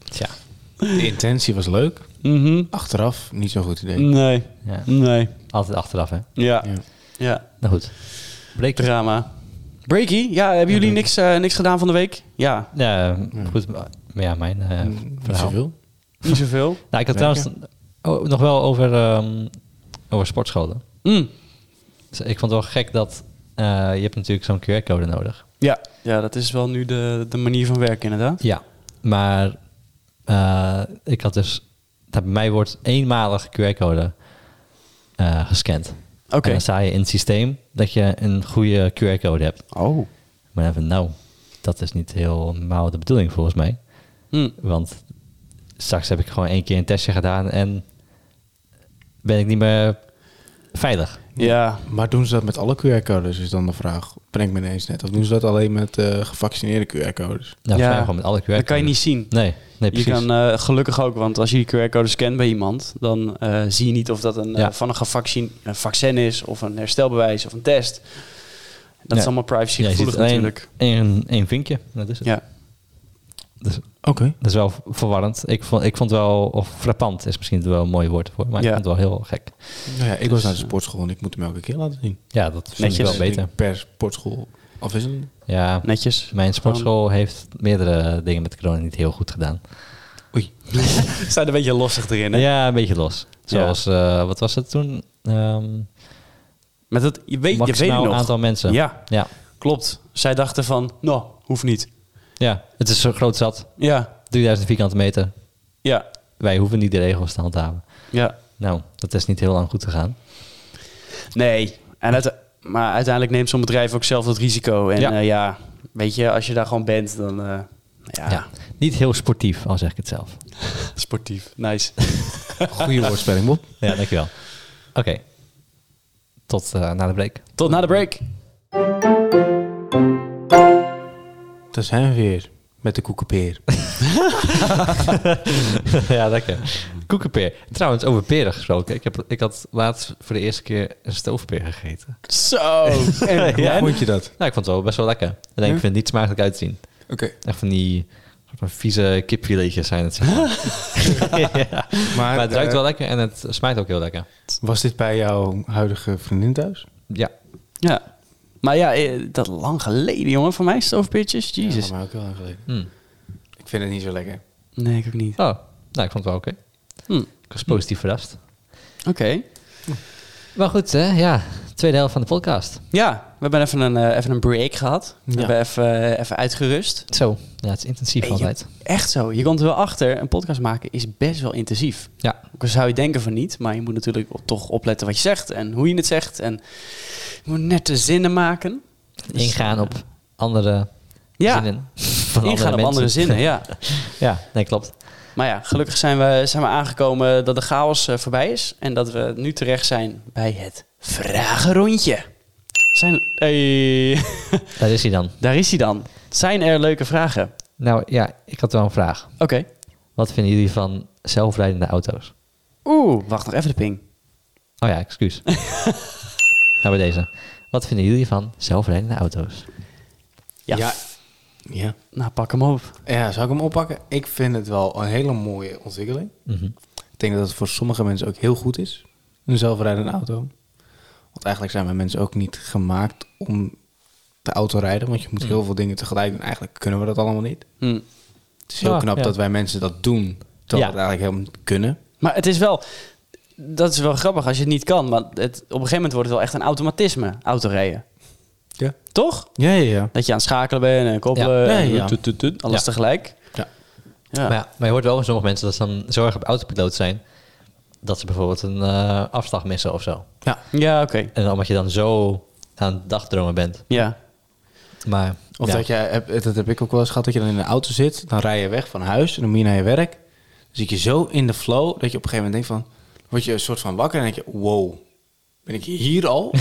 Speaker 3: Tja.
Speaker 4: De intentie was leuk.
Speaker 2: Mhm.
Speaker 4: Achteraf niet zo'n goed idee.
Speaker 2: Nee,
Speaker 3: Ja.
Speaker 2: nee.
Speaker 3: Altijd achteraf, hè?
Speaker 2: Ja,
Speaker 4: Ja.
Speaker 2: ja.
Speaker 3: Nou goed. Bleek.
Speaker 2: Drama. Breaky, ja, hebben jullie niks, eh, niks gedaan van de week? Ja,
Speaker 3: Ja, goed. Maar maar ja, mijn eh,
Speaker 4: Niet
Speaker 3: verhaal.
Speaker 4: zoveel.
Speaker 2: niet zoveel.
Speaker 3: Nou, ik had
Speaker 4: Lekker.
Speaker 3: trouwens oh, nog wel over, ehm, over sportscholen.
Speaker 2: Mm.
Speaker 3: Dus ik vond het wel gek dat eh, je hebt natuurlijk zo'n QR-code nodig.
Speaker 2: Ja. ja, dat is wel nu de, de manier van werken inderdaad.
Speaker 3: Ja. Maar eh, ik had dus... Dat bij mij wordt eenmalig QR-code eh, gescand.
Speaker 2: Oké.
Speaker 3: En dan sta je in het systeem dat je een goede QR-code hebt.
Speaker 2: Oh.
Speaker 3: Maar even, nou, dat is niet helemaal de bedoeling volgens mij.
Speaker 2: Mm.
Speaker 3: Want straks heb ik gewoon één keer een testje gedaan en ben ik niet meer veilig.
Speaker 2: Ja,
Speaker 4: Maar doen ze dat met alle QR-codes is dan de vraag. Brengt me ineens net. Of doen ze dat alleen met eh, gevaccineerde QR-codes?
Speaker 3: Nou,
Speaker 2: Ja.
Speaker 3: ja, gewoon met alle QR.
Speaker 2: dat kan je niet zien.
Speaker 3: Nee,
Speaker 2: Je
Speaker 3: nee precies.
Speaker 2: kan eh, gelukkig ook, want als je die QR-code scant bij iemand, dan eh, zie je niet of dat een, eh,
Speaker 3: Ja.
Speaker 2: van een, gevaccin, een vaccin is, of een herstelbewijs, of een test. Dat is
Speaker 3: Ja.
Speaker 2: allemaal privacy gevoelig
Speaker 3: alleen
Speaker 2: natuurlijk.
Speaker 3: één, één vinkje. Dat is het.
Speaker 2: Ja.
Speaker 3: Dus
Speaker 4: Oké.
Speaker 3: dat is wel verwarrend. Ik vond, ik vond wel, of frappant is misschien wel een mooi woord voor, maar
Speaker 2: Ja.
Speaker 3: ik vond het wel heel gek.
Speaker 4: Nou ja, ik was naar de sportschool en ik moet hem elke keer laten zien.
Speaker 3: Ja, dat vind ik
Speaker 2: Netjes.
Speaker 3: wel beter.
Speaker 4: Per sportschool afwisselen.
Speaker 3: Ja,
Speaker 2: Netjes.
Speaker 3: mijn sportschool heeft meerdere dingen met corona niet heel goed gedaan.
Speaker 2: Staat een beetje lastig erin, hè?
Speaker 3: Ja, een beetje los.
Speaker 2: Ja.
Speaker 3: Zoals, eh, wat was dat toen? Ehm
Speaker 2: Met dat, je weet, je weet het
Speaker 3: maximaal
Speaker 2: nog.
Speaker 3: aantal mensen.
Speaker 2: Ja,
Speaker 3: Ja.
Speaker 2: klopt. Zij dachten van, nou, hoeft niet.
Speaker 3: Ja, het is zo groot zat.
Speaker 2: Ja,
Speaker 3: 3000 vierkante meter.
Speaker 2: ja,
Speaker 3: Wij hoeven niet de regels te handhaven.
Speaker 2: ja.
Speaker 3: Nou, dat is niet heel lang goed gegaan.
Speaker 2: Nee. En uite- maar uiteindelijk neemt zo'n bedrijf ook zelf dat risico. En
Speaker 3: Ja.
Speaker 2: ja, ja weet je, als je daar gewoon bent, dan... eh, ja,
Speaker 3: Ja. Niet heel sportief, al zeg ik het zelf.
Speaker 2: sportief. Nice.
Speaker 4: Goede woordspeling, Bob.
Speaker 3: Ja, dankjewel. Oké. Tot eh, na de break.
Speaker 2: Tot na de break.
Speaker 4: Daar zijn we weer. Met de koekenpeer.
Speaker 3: ja, lekker. Koekenpeer. Trouwens, over peren gesproken. Ik, heb, ik had laatst voor de eerste keer een stoofpeer gegeten.
Speaker 2: Zo. En-
Speaker 4: Hoe vond je dat?
Speaker 3: Nou, ik vond het wel best wel lekker. Alleen, ik vind het niet smakelijk uitzien.
Speaker 4: Oké.
Speaker 3: Echt van die soort van vieze kipfiletjes zijn het. zeg maar. ja.
Speaker 4: Maar,
Speaker 3: Maar het ruikt
Speaker 4: eh,
Speaker 3: wel lekker en het smaakt ook heel lekker.
Speaker 4: Was dit bij jouw huidige vriendin thuis?
Speaker 3: Ja,
Speaker 2: ja. Maar ja, eh, dat lang geleden, jongen, van mij stoofpitjes. Jezus.
Speaker 4: Ja, maar ook heel lang geleden.
Speaker 3: Mm.
Speaker 4: Ik vind het niet zo lekker.
Speaker 2: Nee, ik ook niet.
Speaker 3: Oh, nou, ik vond het wel oké.
Speaker 2: Hm.
Speaker 3: Ik was positief verrast.
Speaker 2: Oké.
Speaker 3: Maar goed, hè, ja, tweede helft van de podcast.
Speaker 2: Ja, we hebben even een, eh, even een break gehad. We
Speaker 4: Ja.
Speaker 2: hebben even, eh, even uitgerust.
Speaker 3: Zo, ja, het is intensief
Speaker 2: Hey,
Speaker 3: altijd.
Speaker 2: je- echt zo. Je komt er wel achter, een podcast maken is best wel intensief.
Speaker 3: Ja.
Speaker 2: Ook al zou je denken van niet, maar je moet natuurlijk op- toch opletten wat je zegt en hoe je het zegt. En je moet nette zinnen maken. Dus-
Speaker 3: Ingaan op andere
Speaker 2: Ja,
Speaker 3: zinnen. Van
Speaker 2: ingaan op
Speaker 3: mensen.
Speaker 2: andere zinnen, ja.
Speaker 3: ja, nee, klopt.
Speaker 2: Maar ja, gelukkig zijn we, zijn we aangekomen dat de chaos eh, voorbij is. En dat we nu terecht zijn bij het vragenrondje. Zijn, hey,
Speaker 3: Daar is hij dan.
Speaker 2: daar is hij dan. Zijn er leuke vragen?
Speaker 3: Nou ja, ik had wel een vraag.
Speaker 2: Oké.
Speaker 3: Wat vinden jullie van zelfrijdende auto's?
Speaker 2: Oeh, wacht nog even de ping.
Speaker 3: Oh ja, excuus. nou, bij deze. Wat vinden jullie van zelfrijdende auto's?
Speaker 2: Ja.
Speaker 4: Ja. Ja.
Speaker 2: Nou, pak hem op.
Speaker 4: Ja, zou ik hem oppakken? Ik vind het wel een hele mooie ontwikkeling.
Speaker 3: Mhm.
Speaker 4: Ik denk dat het voor sommige mensen ook heel goed is. Een zelfrijdende auto. Want eigenlijk zijn wij mensen ook niet gemaakt om te autorijden. Want je
Speaker 3: Hm.
Speaker 4: moet heel veel dingen tegelijk doen. Eigenlijk kunnen we dat allemaal niet.
Speaker 2: Hm.
Speaker 4: Het is heel
Speaker 3: Ja,
Speaker 4: knap
Speaker 3: ja.
Speaker 4: dat wij mensen dat doen. Terwijl
Speaker 3: Ja.
Speaker 4: we het eigenlijk helemaal niet kunnen.
Speaker 2: Maar het is wel... Dat is wel grappig als je het niet kan. Maar het, op een gegeven moment wordt het wel echt een automatisme. Autorijden.
Speaker 4: Ja.
Speaker 2: Toch?
Speaker 4: Ja, ja, ja.
Speaker 2: Dat je aan het schakelen bent en koppelen.
Speaker 4: Ja.
Speaker 2: en
Speaker 4: Ja, ja.
Speaker 2: tut, tut, tut, alles
Speaker 3: Ja.
Speaker 2: tegelijk.
Speaker 4: Ja.
Speaker 2: Ja.
Speaker 3: Maar, ja, maar je hoort wel van sommige mensen dat ze dan zo erg op autopiloot zijn... dat ze bijvoorbeeld een eh, afslag missen of zo.
Speaker 2: Ja, oké.
Speaker 3: En dan omdat je dan zo aan het dagdromen bent.
Speaker 2: Ja.
Speaker 3: Maar,
Speaker 4: Of
Speaker 3: ja.
Speaker 4: dat jij, heb- dat heb ik ook wel eens gehad, dat je dan in een auto zit. Dan rij je weg van huis en dan moet je naar je werk. Dan zit je zo in de flow dat je op een gegeven moment denkt van... word je een soort van wakker en denk je, wow. ben ik hier al?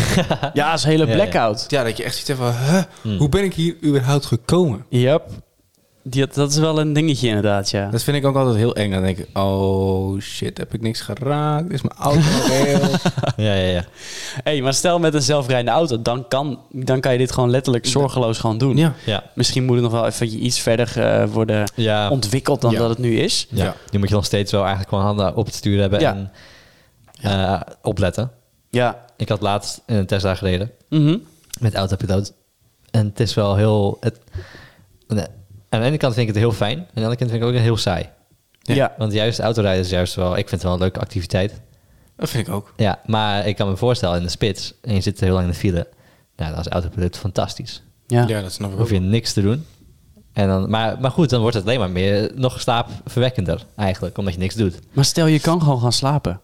Speaker 2: Ja, is een hele
Speaker 3: Ja, ja.
Speaker 2: blackout.
Speaker 4: ja, dat je echt zoiets hebt van, huh,
Speaker 3: Hmm.
Speaker 4: hoe ben ik hier überhaupt gekomen?
Speaker 2: Yep. Die, dat is wel een dingetje inderdaad, ja.
Speaker 4: Dat vind ik ook altijd heel eng. Dan denk ik, oh shit, heb ik niks geraakt? Is mijn auto nog heel...
Speaker 3: ja, ja, ja.
Speaker 2: hey, maar stel met een zelfrijdende auto, dan kan, dan kan je dit gewoon letterlijk zorgeloos gewoon doen.
Speaker 4: Ja.
Speaker 3: Ja.
Speaker 2: Misschien moet het nog wel even iets verder eh, worden
Speaker 3: Ja.
Speaker 2: ontwikkeld dan
Speaker 4: Ja.
Speaker 2: dat het nu is.
Speaker 3: ja.
Speaker 4: Ja.
Speaker 3: Die moet je nog steeds wel eigenlijk gewoon handen op het stuur hebben
Speaker 2: Ja.
Speaker 3: en eh, opletten.
Speaker 2: Ja.
Speaker 3: Ik had laatst in een Tesla gereden
Speaker 2: Mhm.
Speaker 3: met autopiloot. En het is wel heel... Het, nee. Aan de ene kant vind ik het heel fijn. En aan de andere kant vind ik het ook heel saai.
Speaker 2: ja.
Speaker 3: Want juist autorijden is juist wel... Ik vind het wel een leuke activiteit.
Speaker 4: Dat vind ik ook.
Speaker 3: Ja, maar ik kan me voorstellen in de spits... en je zit heel lang in de file. Nou, dat is autopiloot fantastisch.
Speaker 2: Ja.
Speaker 4: Ja, dat snap ik
Speaker 3: Dan hoef
Speaker 4: ook.
Speaker 3: je niks te doen. En dan, maar, maar goed, dan wordt het alleen maar meer... nog slaapverwekkender eigenlijk, omdat je niks doet.
Speaker 2: Maar stel, je kan gewoon gaan slapen.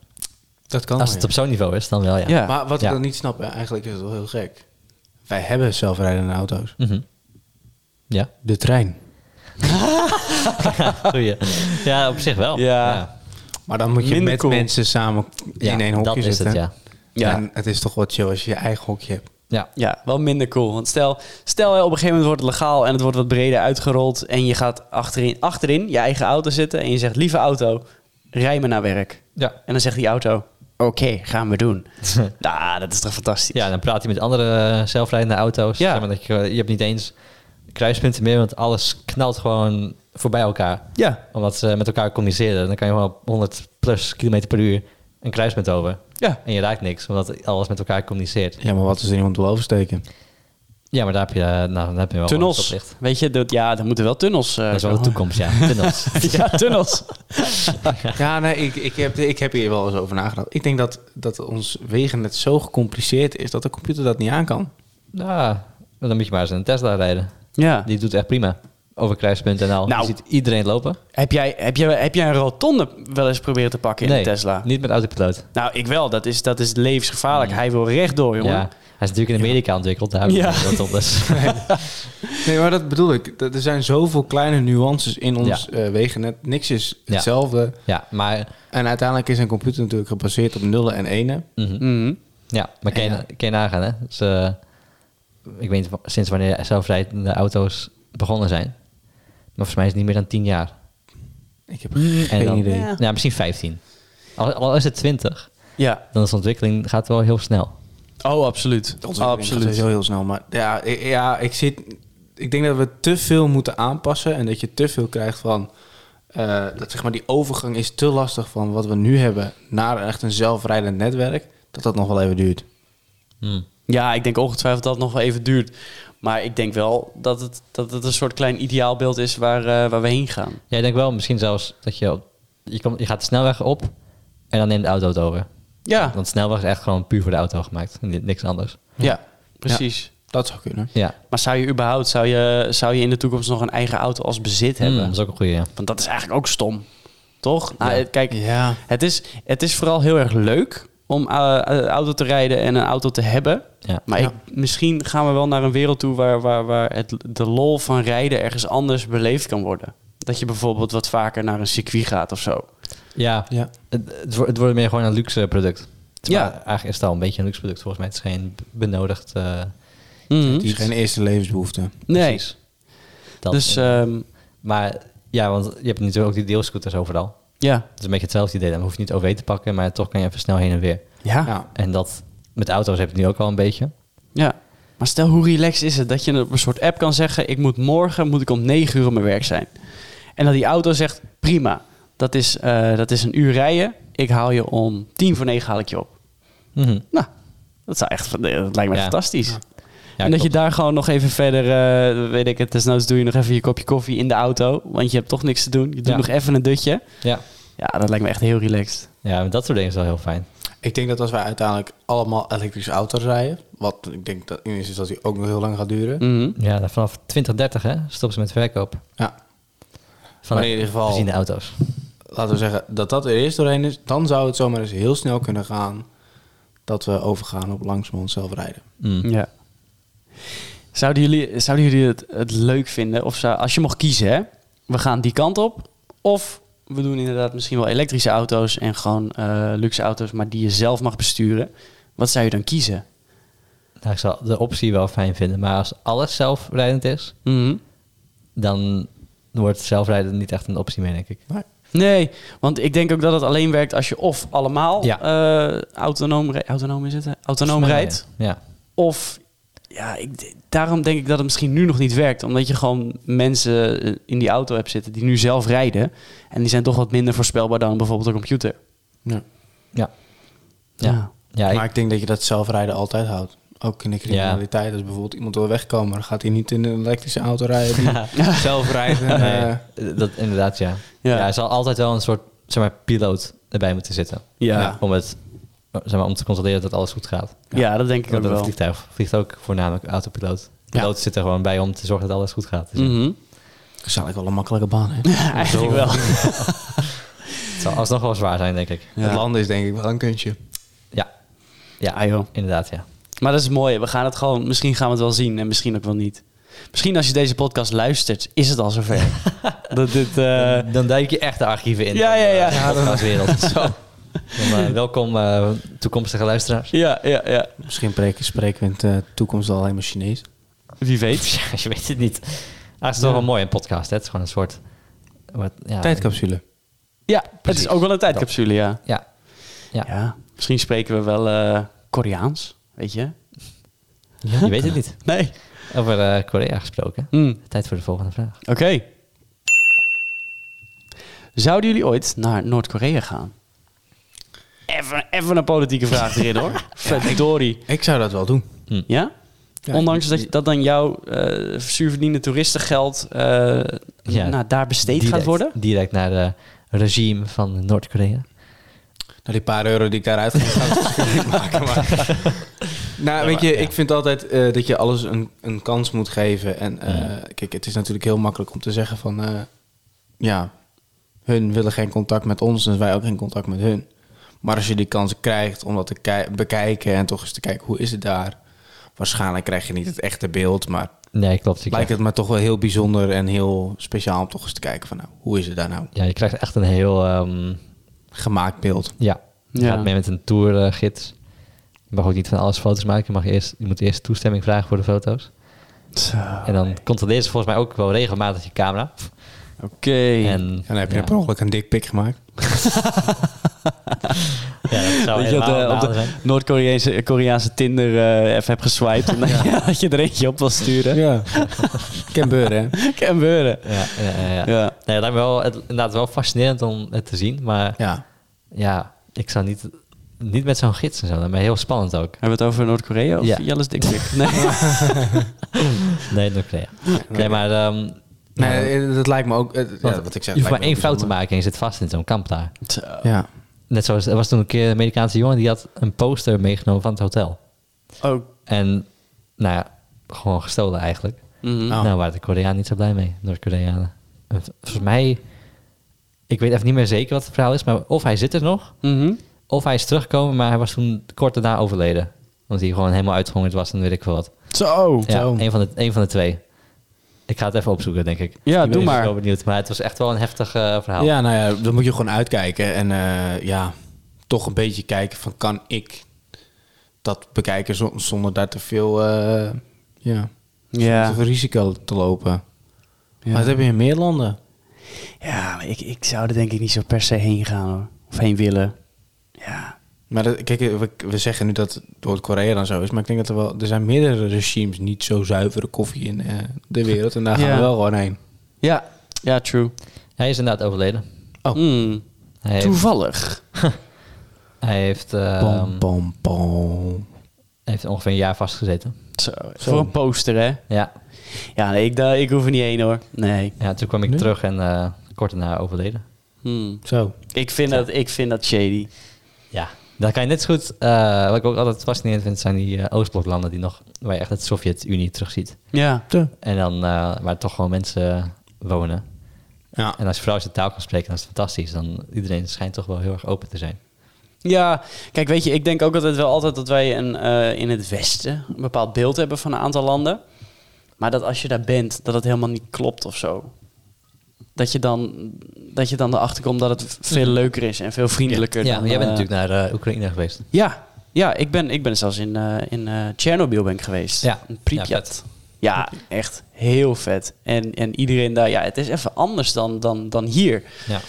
Speaker 4: Dat kan
Speaker 3: Als het
Speaker 4: wel, Oh, ja.
Speaker 3: op zo'n niveau is, dan wel ja.
Speaker 2: Ja.
Speaker 4: Maar wat
Speaker 3: Ja.
Speaker 4: ik dan niet snap, hè, eigenlijk is het wel heel gek. Wij hebben zelfrijdende auto's.
Speaker 3: Mhm. Ja,
Speaker 4: De trein.
Speaker 3: goeie. ja, op zich wel.
Speaker 2: Ja.
Speaker 4: Maar dan moet je
Speaker 2: Minder
Speaker 4: met
Speaker 2: cool.
Speaker 4: mensen samen in één hokje
Speaker 3: dat is
Speaker 4: zitten.
Speaker 3: het, ja.
Speaker 2: Ja.
Speaker 4: En het is toch wat chill als je je eigen hokje hebt.
Speaker 3: Ja,
Speaker 2: Ja, wel minder cool. Want stel, stel hè, op een gegeven moment wordt het legaal en het wordt wat breder uitgerold. En je gaat achterin, achterin je eigen auto zitten en je zegt, lieve auto, rij me naar werk.
Speaker 3: ja.
Speaker 2: En dan zegt die auto, oké, gaan we doen. nou, dat is toch fantastisch.
Speaker 3: ja dan praat je met andere eh, zelfrijdende auto's.
Speaker 2: Ja.
Speaker 3: Zeg maar dat je, eh, je hebt niet eens kruispunten meer, want alles knalt gewoon voorbij elkaar.
Speaker 2: ja.
Speaker 3: Omdat ze met elkaar communiceren. Dan kan je gewoon op 100 plus kilometer per uur een kruispunt over.
Speaker 2: Ja.
Speaker 3: En je raakt niks, omdat alles met elkaar communiceert.
Speaker 4: Ja, maar wat als er iemand wil oversteken?
Speaker 3: Ja, maar daar heb je, eh, nou, daar heb je wel gewoon
Speaker 2: Tunnels.
Speaker 3: stoplicht.
Speaker 2: Weet je, dat, ja, dan moeten wel tunnels. eh,
Speaker 3: Dat is wel de
Speaker 2: komen.
Speaker 3: toekomst, ja. Tunnels.
Speaker 2: ja, tunnels.
Speaker 4: Ja, nee, ik, ik, heb, ik heb hier wel eens over nagedacht. Ik denk dat, dat ons wegennet zo gecompliceerd is dat de computer dat niet aan kan.
Speaker 3: nou, dan moet je maar eens een Tesla rijden.
Speaker 2: Ja.
Speaker 3: Die doet echt prima. Over kruispunten en al.
Speaker 2: Nou.
Speaker 3: Je ziet iedereen lopen.
Speaker 2: Heb, jij, heb, jij, heb jij een rotonde wel eens proberen te pakken in
Speaker 3: nee,
Speaker 2: een Tesla?
Speaker 3: niet met autopiloot.
Speaker 2: Nou, ik wel. Dat is, dat is levensgevaarlijk. Hij wil rechtdoor, jongen.
Speaker 3: Ja, hij is natuurlijk in Amerika ontwikkeld. Daar hebben we
Speaker 2: Ja.
Speaker 3: ja. wat op. Dus.
Speaker 4: Nee, maar dat bedoel ik. Dat- Er zijn zoveel kleine nuances in ons eh, wegennet. Niks is
Speaker 3: Ja.
Speaker 4: hetzelfde.
Speaker 3: ja, maar,
Speaker 4: En uiteindelijk is een computer natuurlijk gebaseerd op nullen en enen.
Speaker 3: mhm.
Speaker 2: Mhm.
Speaker 3: ja, maar kan, je, kan je nagaan, hè? Dus, eh, ik weet niet wa- sinds wanneer zelfrijdende auto's begonnen zijn. Maar volgens mij is het niet meer dan 10 jaar.
Speaker 4: Ik heb geen
Speaker 3: En dan,
Speaker 4: idee.
Speaker 2: Ja.
Speaker 3: Ja, misschien 15. Al, al is het 20,
Speaker 2: Ja.
Speaker 3: dan is de ontwikkeling gaat wel heel snel.
Speaker 2: Oh, absoluut.
Speaker 4: Dat
Speaker 2: Absoluut.
Speaker 4: Zo heel snel. Maar ja, ik, ja, ik zit. Ik denk dat we te veel moeten aanpassen en dat je te veel krijgt van. eh, dat zeg maar die overgang is te lastig van wat we nu hebben naar echt een zelfrijdend netwerk. Dat dat nog wel even duurt.
Speaker 3: Hmm.
Speaker 2: Ja, ik denk ongetwijfeld dat het nog wel even duurt. Maar ik denk wel dat het, dat het een soort klein ideaalbeeld is waar, eh, waar we heen gaan.
Speaker 3: Ja, ik denk wel misschien zelfs dat je... op- Je, komt, je gaat de snelweg op en dan neemt de auto het over.
Speaker 2: Ja,
Speaker 3: Want de snelweg is echt gewoon puur voor de auto gemaakt. Ni- Niks anders.
Speaker 2: ja precies.
Speaker 4: Dat zou kunnen.
Speaker 3: Ja,
Speaker 2: Maar zou je überhaupt, zou je, zou je in de toekomst nog een eigen auto als bezit
Speaker 3: Hmm,
Speaker 2: hebben?
Speaker 3: dat is ook een goede. Ja.
Speaker 2: Want dat is eigenlijk ook stom. Toch? Nou, eh, Kijk,
Speaker 4: Ja.
Speaker 2: het is, het is vooral heel erg leuk om eh, eh, auto te rijden en een auto te hebben.
Speaker 3: Ja.
Speaker 2: Maar
Speaker 4: Ja.
Speaker 2: ik, misschien gaan we wel naar een wereld toe waar, waar, waar het, de lol van rijden ergens anders beleefd kan worden. Dat je bijvoorbeeld wat vaker naar een circuit gaat of zo.
Speaker 3: Ja,
Speaker 4: Ja.
Speaker 3: het, het wordt- het wordt meer gewoon een luxe product. Terwijl
Speaker 2: Ja.
Speaker 3: Eigenlijk is het al een beetje een luxe product. Volgens mij het is geen b- benodigd eh,
Speaker 4: Het is geen eerste levensbehoefte.
Speaker 2: Nee.
Speaker 3: precies. Dat,
Speaker 2: Dus
Speaker 3: eh,
Speaker 2: ehm,
Speaker 3: maar ja, want je hebt natuurlijk ook die deelscooters overal.
Speaker 2: ja.
Speaker 3: Het is een beetje hetzelfde idee. Dan hoef je niet OV te pakken, maar toch kan je even snel heen en weer.
Speaker 2: Ja. ja.
Speaker 4: Ja.
Speaker 3: En dat met auto's heb je het nu ook al een beetje.
Speaker 2: Maar stel, hoe relaxed is het dat je op een soort app kan zeggen... ik moet morgen moet ik om 9 uur op mijn werk zijn. En dat die auto zegt, prima, dat is, eh, dat is een uur rijden. Ik haal je om tien voor negen haal ik je op.
Speaker 3: Mhm.
Speaker 2: Nou, dat, zou echt, dat lijkt me echt
Speaker 3: Ja.
Speaker 2: fantastisch.
Speaker 3: Ja,
Speaker 2: en dat je
Speaker 3: klopt.
Speaker 2: daar gewoon nog even verder, eh, weet ik het, desnoods doe je nog even je kopje koffie in de auto. Want je hebt toch niks te doen. Je doet
Speaker 3: Ja.
Speaker 2: nog even een dutje.
Speaker 3: Ja,
Speaker 2: Ja, dat lijkt me echt heel relaxed.
Speaker 3: ja maar dat soort dingen is wel heel fijn.
Speaker 4: Ik denk dat als wij uiteindelijk allemaal elektrische auto's rijden, wat ik denk dat in eerste instantie ook nog heel lang gaat duren.
Speaker 2: Mhm.
Speaker 3: Ja, dan vanaf 2030 hè, stoppen ze met verkoop
Speaker 4: Ja.
Speaker 3: van
Speaker 4: Maar in ieder geval-
Speaker 3: benzine auto's.
Speaker 4: laten we zeggen dat dat er eerst doorheen is, dan zou het zomaar eens heel snel kunnen gaan dat we overgaan op langzamerhand zelf rijden.
Speaker 3: Mm.
Speaker 2: Ja. Zouden jullie, zouden jullie het, het leuk vinden? Of zou, als je mocht kiezen, hè? We gaan die kant op. Of we doen inderdaad misschien wel elektrische auto's en gewoon eh, luxe auto's, maar die je zelf mag besturen. Wat zou je dan kiezen?
Speaker 3: Nou, ik zal de optie wel fijn vinden, maar als alles zelfrijdend is,
Speaker 2: Mhm.
Speaker 3: dan wordt zelfrijden niet echt een optie meer, denk ik.
Speaker 2: Nee, want ik denk ook dat het alleen werkt als je of allemaal
Speaker 3: Ja.
Speaker 2: eh, autonoom, rij- autonoom, is het, hè? autonoom
Speaker 3: Snel
Speaker 2: rijdt.
Speaker 3: rijden. Ja.
Speaker 2: Of ja, ik, d- daarom denk ik dat het misschien nu nog niet werkt. Omdat je gewoon mensen eh, in die auto hebt zitten die nu zelf rijden. En die zijn toch wat minder voorspelbaar dan bijvoorbeeld een computer.
Speaker 4: Ja.
Speaker 3: Ja. Ja. Ja, ik-
Speaker 4: maar ik denk dat je dat zelfrijden altijd houdt. Ook in de criminaliteit. Als bijvoorbeeld iemand wil wegkomen, dan gaat hij niet in een elektrische auto rijden. Die zelfrijden.
Speaker 3: Nee,
Speaker 4: eh,
Speaker 3: dat, inderdaad, ja.
Speaker 2: Ja.
Speaker 3: ja. er zal altijd wel een soort zeg maar, piloot erbij moeten zitten.
Speaker 2: Ja.
Speaker 3: Om, het, zeg maar, om te controleren dat alles goed gaat.
Speaker 2: Ja, dat denk ik ook
Speaker 3: Want een
Speaker 2: wel.
Speaker 3: vliegtuig vliegt ook voornamelijk autopiloot. De
Speaker 4: Ja.
Speaker 3: piloot zit er gewoon bij om te zorgen dat alles goed gaat. Dus ja,
Speaker 2: Mhm.
Speaker 4: dat is eigenlijk wel een makkelijke baan. Hè?
Speaker 2: Eigenlijk wel.
Speaker 3: Het zal alsnog wel zwaar zijn, denk ik.
Speaker 4: Het landen is denk ik wel een kuntje.
Speaker 3: Ja. Ja,
Speaker 2: Ah, joh.
Speaker 3: inderdaad, ja.
Speaker 2: Maar dat is mooi. We gaan het gewoon, misschien gaan we het wel zien en misschien ook wel niet. Misschien als je deze podcast luistert, is het al zover. dat dit, eh,
Speaker 3: dan duik je echt de archieven in.
Speaker 2: Ja, ja, ja.
Speaker 3: De podcastwereld. Zo. Dan, eh, welkom eh, toekomstige luisteraars.
Speaker 2: ja, ja, ja.
Speaker 4: Misschien spreken, spreken we in de toekomst al helemaal Chinees.
Speaker 2: Wie weet.
Speaker 3: Ja, je weet het niet. Ah, het is toch wel mooi een podcast, hè? Het is gewoon een soort... Wat, ja,
Speaker 4: Tijdcapsule.
Speaker 2: Ja, het
Speaker 3: Precies.
Speaker 2: is ook wel een tijdcapsule, ja.
Speaker 3: Ja. Ja.
Speaker 2: Ja, misschien spreken we wel eh, Koreaans, weet je?
Speaker 3: Je weet het niet.
Speaker 2: Nee.
Speaker 3: Over eh, Korea gesproken.
Speaker 2: Hm.
Speaker 3: Tijd voor de volgende vraag.
Speaker 2: Oké. Zouden jullie ooit naar Noord-Korea gaan? Even, even een politieke vraag erin hoor. Verdorie.
Speaker 4: Ik zou dat wel doen.
Speaker 2: Ja?
Speaker 4: Ja,
Speaker 2: Ondanks dat, dat dan jouw eh zuurverdiende toeristengeld eh,
Speaker 3: Ja,
Speaker 2: nou, daar besteed gaat
Speaker 3: Direct-
Speaker 2: worden?
Speaker 3: Direct naar het regime van Noord-Korea.
Speaker 4: Nou, die paar euro die ik daaruit ga, ga ik natuurlijk niet maken. Maar. Nou, weet je, ik vind altijd eh, dat je alles een, een kans moet geven. En eh, kijk, het is natuurlijk heel makkelijk om te zeggen van... eh, ja, hun willen geen contact met ons, dus wij ook geen contact met hun. Maar als je die kansen krijgt om dat te kei- bekijken en toch eens te kijken hoe is het daar... Waarschijnlijk krijg je niet het echte beeld, maar
Speaker 3: Nee, klopt. Je
Speaker 4: lijkt
Speaker 3: krijgt,
Speaker 4: het me toch wel heel bijzonder en heel speciaal om toch eens te kijken van... Nou, hoe is het daar nou?
Speaker 3: ja, je krijgt echt een heel... ehm,
Speaker 4: Gemaakt beeld.
Speaker 3: ja, je
Speaker 2: Ja.
Speaker 3: gaat mee met een tourgids. je mag ook niet van alles foto's maken. Je, mag eerst, je moet eerst toestemming vragen voor de foto's. en
Speaker 4: Oh,
Speaker 3: dan controleert ze volgens mij ook wel regelmatig je camera.
Speaker 2: Oké.
Speaker 3: En,
Speaker 4: En dan heb je
Speaker 3: ja,
Speaker 4: per ongeluk een dikpik gemaakt.
Speaker 3: ja, dat zou
Speaker 2: Weet je wat,
Speaker 3: helemaal
Speaker 2: eh, op
Speaker 3: een
Speaker 2: de
Speaker 3: nadeel zijn.
Speaker 2: Noord-Koreaanse Koreaanse Tinder eh, even hebt geswiped. En dat je er eentje op wil sturen.
Speaker 4: Ja. Canberra, hè?
Speaker 2: Kan gebeuren.
Speaker 3: Ja, ja, ja, ja.
Speaker 2: Ja.
Speaker 3: Nee, dat lijkt me wel, het, inderdaad wel fascinerend om het te zien. Maar
Speaker 4: Ja.
Speaker 3: Ja, ik zou niet, niet met zo'n gids en zo. Dat is heel spannend ook.
Speaker 2: Hebben we het over Noord-Korea of
Speaker 3: Ja.
Speaker 2: Jelle's dikpik? Nee.
Speaker 3: Nee, Noord-Korea. Nee, maar ehm,
Speaker 4: Nee, eh, dat lijkt me ook... eh,
Speaker 3: want
Speaker 4: ja, wat ik zeg,
Speaker 3: je hoeft maar
Speaker 4: lijkt me
Speaker 3: één fout te
Speaker 4: ook
Speaker 3: maken en je zit vast in zo'n kamp daar.
Speaker 4: bijzonder.
Speaker 3: Net zoals, er was toen een keer een Amerikaanse jongen die had een poster meegenomen van het hotel.
Speaker 2: Oh.
Speaker 3: En, nou ja, gewoon gestolen eigenlijk.
Speaker 2: Mhm.
Speaker 4: Oh.
Speaker 3: Nou, waren de Koreanen niet zo blij mee, Noord-Koreanen. En v- Volgens mij, ik weet even niet meer zeker wat het verhaal is, maar of hij zit er nog,
Speaker 2: Mhm.
Speaker 3: of hij is teruggekomen, maar hij was toen kort daarna overleden. Want hij gewoon helemaal uitgehongerd was en weet ik veel wat.
Speaker 2: Zo.
Speaker 3: Ja,
Speaker 4: Zo.
Speaker 3: een van, de, een van de twee. Ik ga het even opzoeken, denk ik.
Speaker 2: Ja,
Speaker 3: ik
Speaker 2: doe
Speaker 3: ben
Speaker 2: maar.
Speaker 3: wel benieuwd, maar het was echt wel een heftig eh,
Speaker 4: Ja.
Speaker 3: verhaal.
Speaker 4: ja, nou ja, dan moet je gewoon uitkijken. En eh, ja, toch een beetje kijken van... kan ik dat bekijken zo- zonder daar te veel... eh, ja,
Speaker 2: Ja.
Speaker 4: te veel risico te lopen.
Speaker 2: Ja.
Speaker 4: Maar dat heb je in meer landen.
Speaker 2: Ja, maar ik, ik zou er denk ik niet zo per se heen gaan hoor. Of heen willen. Ja.
Speaker 4: Maar dat- kijk, eh, we, we zeggen nu dat Noord-Korea dan zo is. Maar ik denk dat er wel... Er zijn meerdere regimes niet zo zuivere koffie in eh, de wereld. En daar gaan
Speaker 2: Ja.
Speaker 4: we wel gewoon heen.
Speaker 2: Ja. Ja, true.
Speaker 3: Hij is inderdaad overleden.
Speaker 4: Oh.
Speaker 2: Mm.
Speaker 3: Hij heeft,
Speaker 2: Toevallig.
Speaker 3: hij heeft, eh,
Speaker 4: Bom, bom, bom.
Speaker 3: hij heeft ongeveer een jaar vastgezeten.
Speaker 2: Zo. Voor een poster, hè?
Speaker 3: Ja,
Speaker 2: Ja, nee, ik, daar- ik hoef er niet heen hoor. Nee.
Speaker 3: ja toen kwam ik terug en eh, kort daarna overleden.
Speaker 2: Hmm.
Speaker 4: Zo.
Speaker 2: Ik, vind dat, ik vind dat shady.
Speaker 3: Ja, dan kan je net zo goed... eh, wat ik ook altijd fascinerend vind, zijn die eh, Oostbloklanden die nog... waar je echt het Sovjet-Unie terugziet.
Speaker 2: Ja.
Speaker 4: Zo.
Speaker 3: En dan eh, waar toch gewoon mensen wonen.
Speaker 4: Ja.
Speaker 3: En als je vooral als je taal kan spreken, dan is het fantastisch. Dan iedereen schijnt toch wel heel erg open te zijn.
Speaker 2: Ja, kijk, weet je, ik denk ook altijd wel altijd dat wij een, eh, in het Westen een bepaald beeld hebben van een aantal landen. Maar dat als je daar bent, dat het helemaal niet klopt of zo. Dat je dan, dat Mhm. je dan erachter komt dat het veel leuker is en veel vriendelijker.
Speaker 3: Ja,
Speaker 2: dan,
Speaker 3: maar jij bent
Speaker 2: eh,
Speaker 3: natuurlijk naar eh, Oekraïne geweest.
Speaker 2: Ja, Ja, ik ben, ik ben zelfs in, eh in eh Tsjernobyl ben ik geweest.
Speaker 3: Ja.
Speaker 2: In
Speaker 3: Ja,
Speaker 2: Pripyat.
Speaker 3: vet.
Speaker 2: Ja, echt heel vet. En, en iedereen daar, ja, het is even anders dan, dan, dan hier.
Speaker 3: Ja.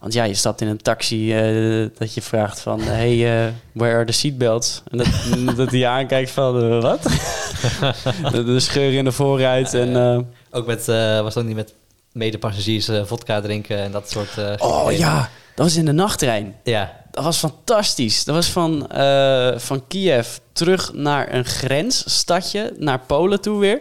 Speaker 2: Want ja, je stapt in een taxi eh, dat je vraagt van... hey, eh, where are the seatbelts? En dat, dat die je aankijkt van, eh, wat? de, de scheur in de voorruit en... eh,
Speaker 3: Ook met, eh, was dat niet met medepassagiers eh, vodka drinken en dat soort... eh,
Speaker 2: oh
Speaker 3: gekkigheden?
Speaker 2: ja, dat was in de nachttrein.
Speaker 3: Ja.
Speaker 2: Dat was fantastisch. Dat was van, eh, van Kiev terug naar een grensstadje, naar Polen toe weer.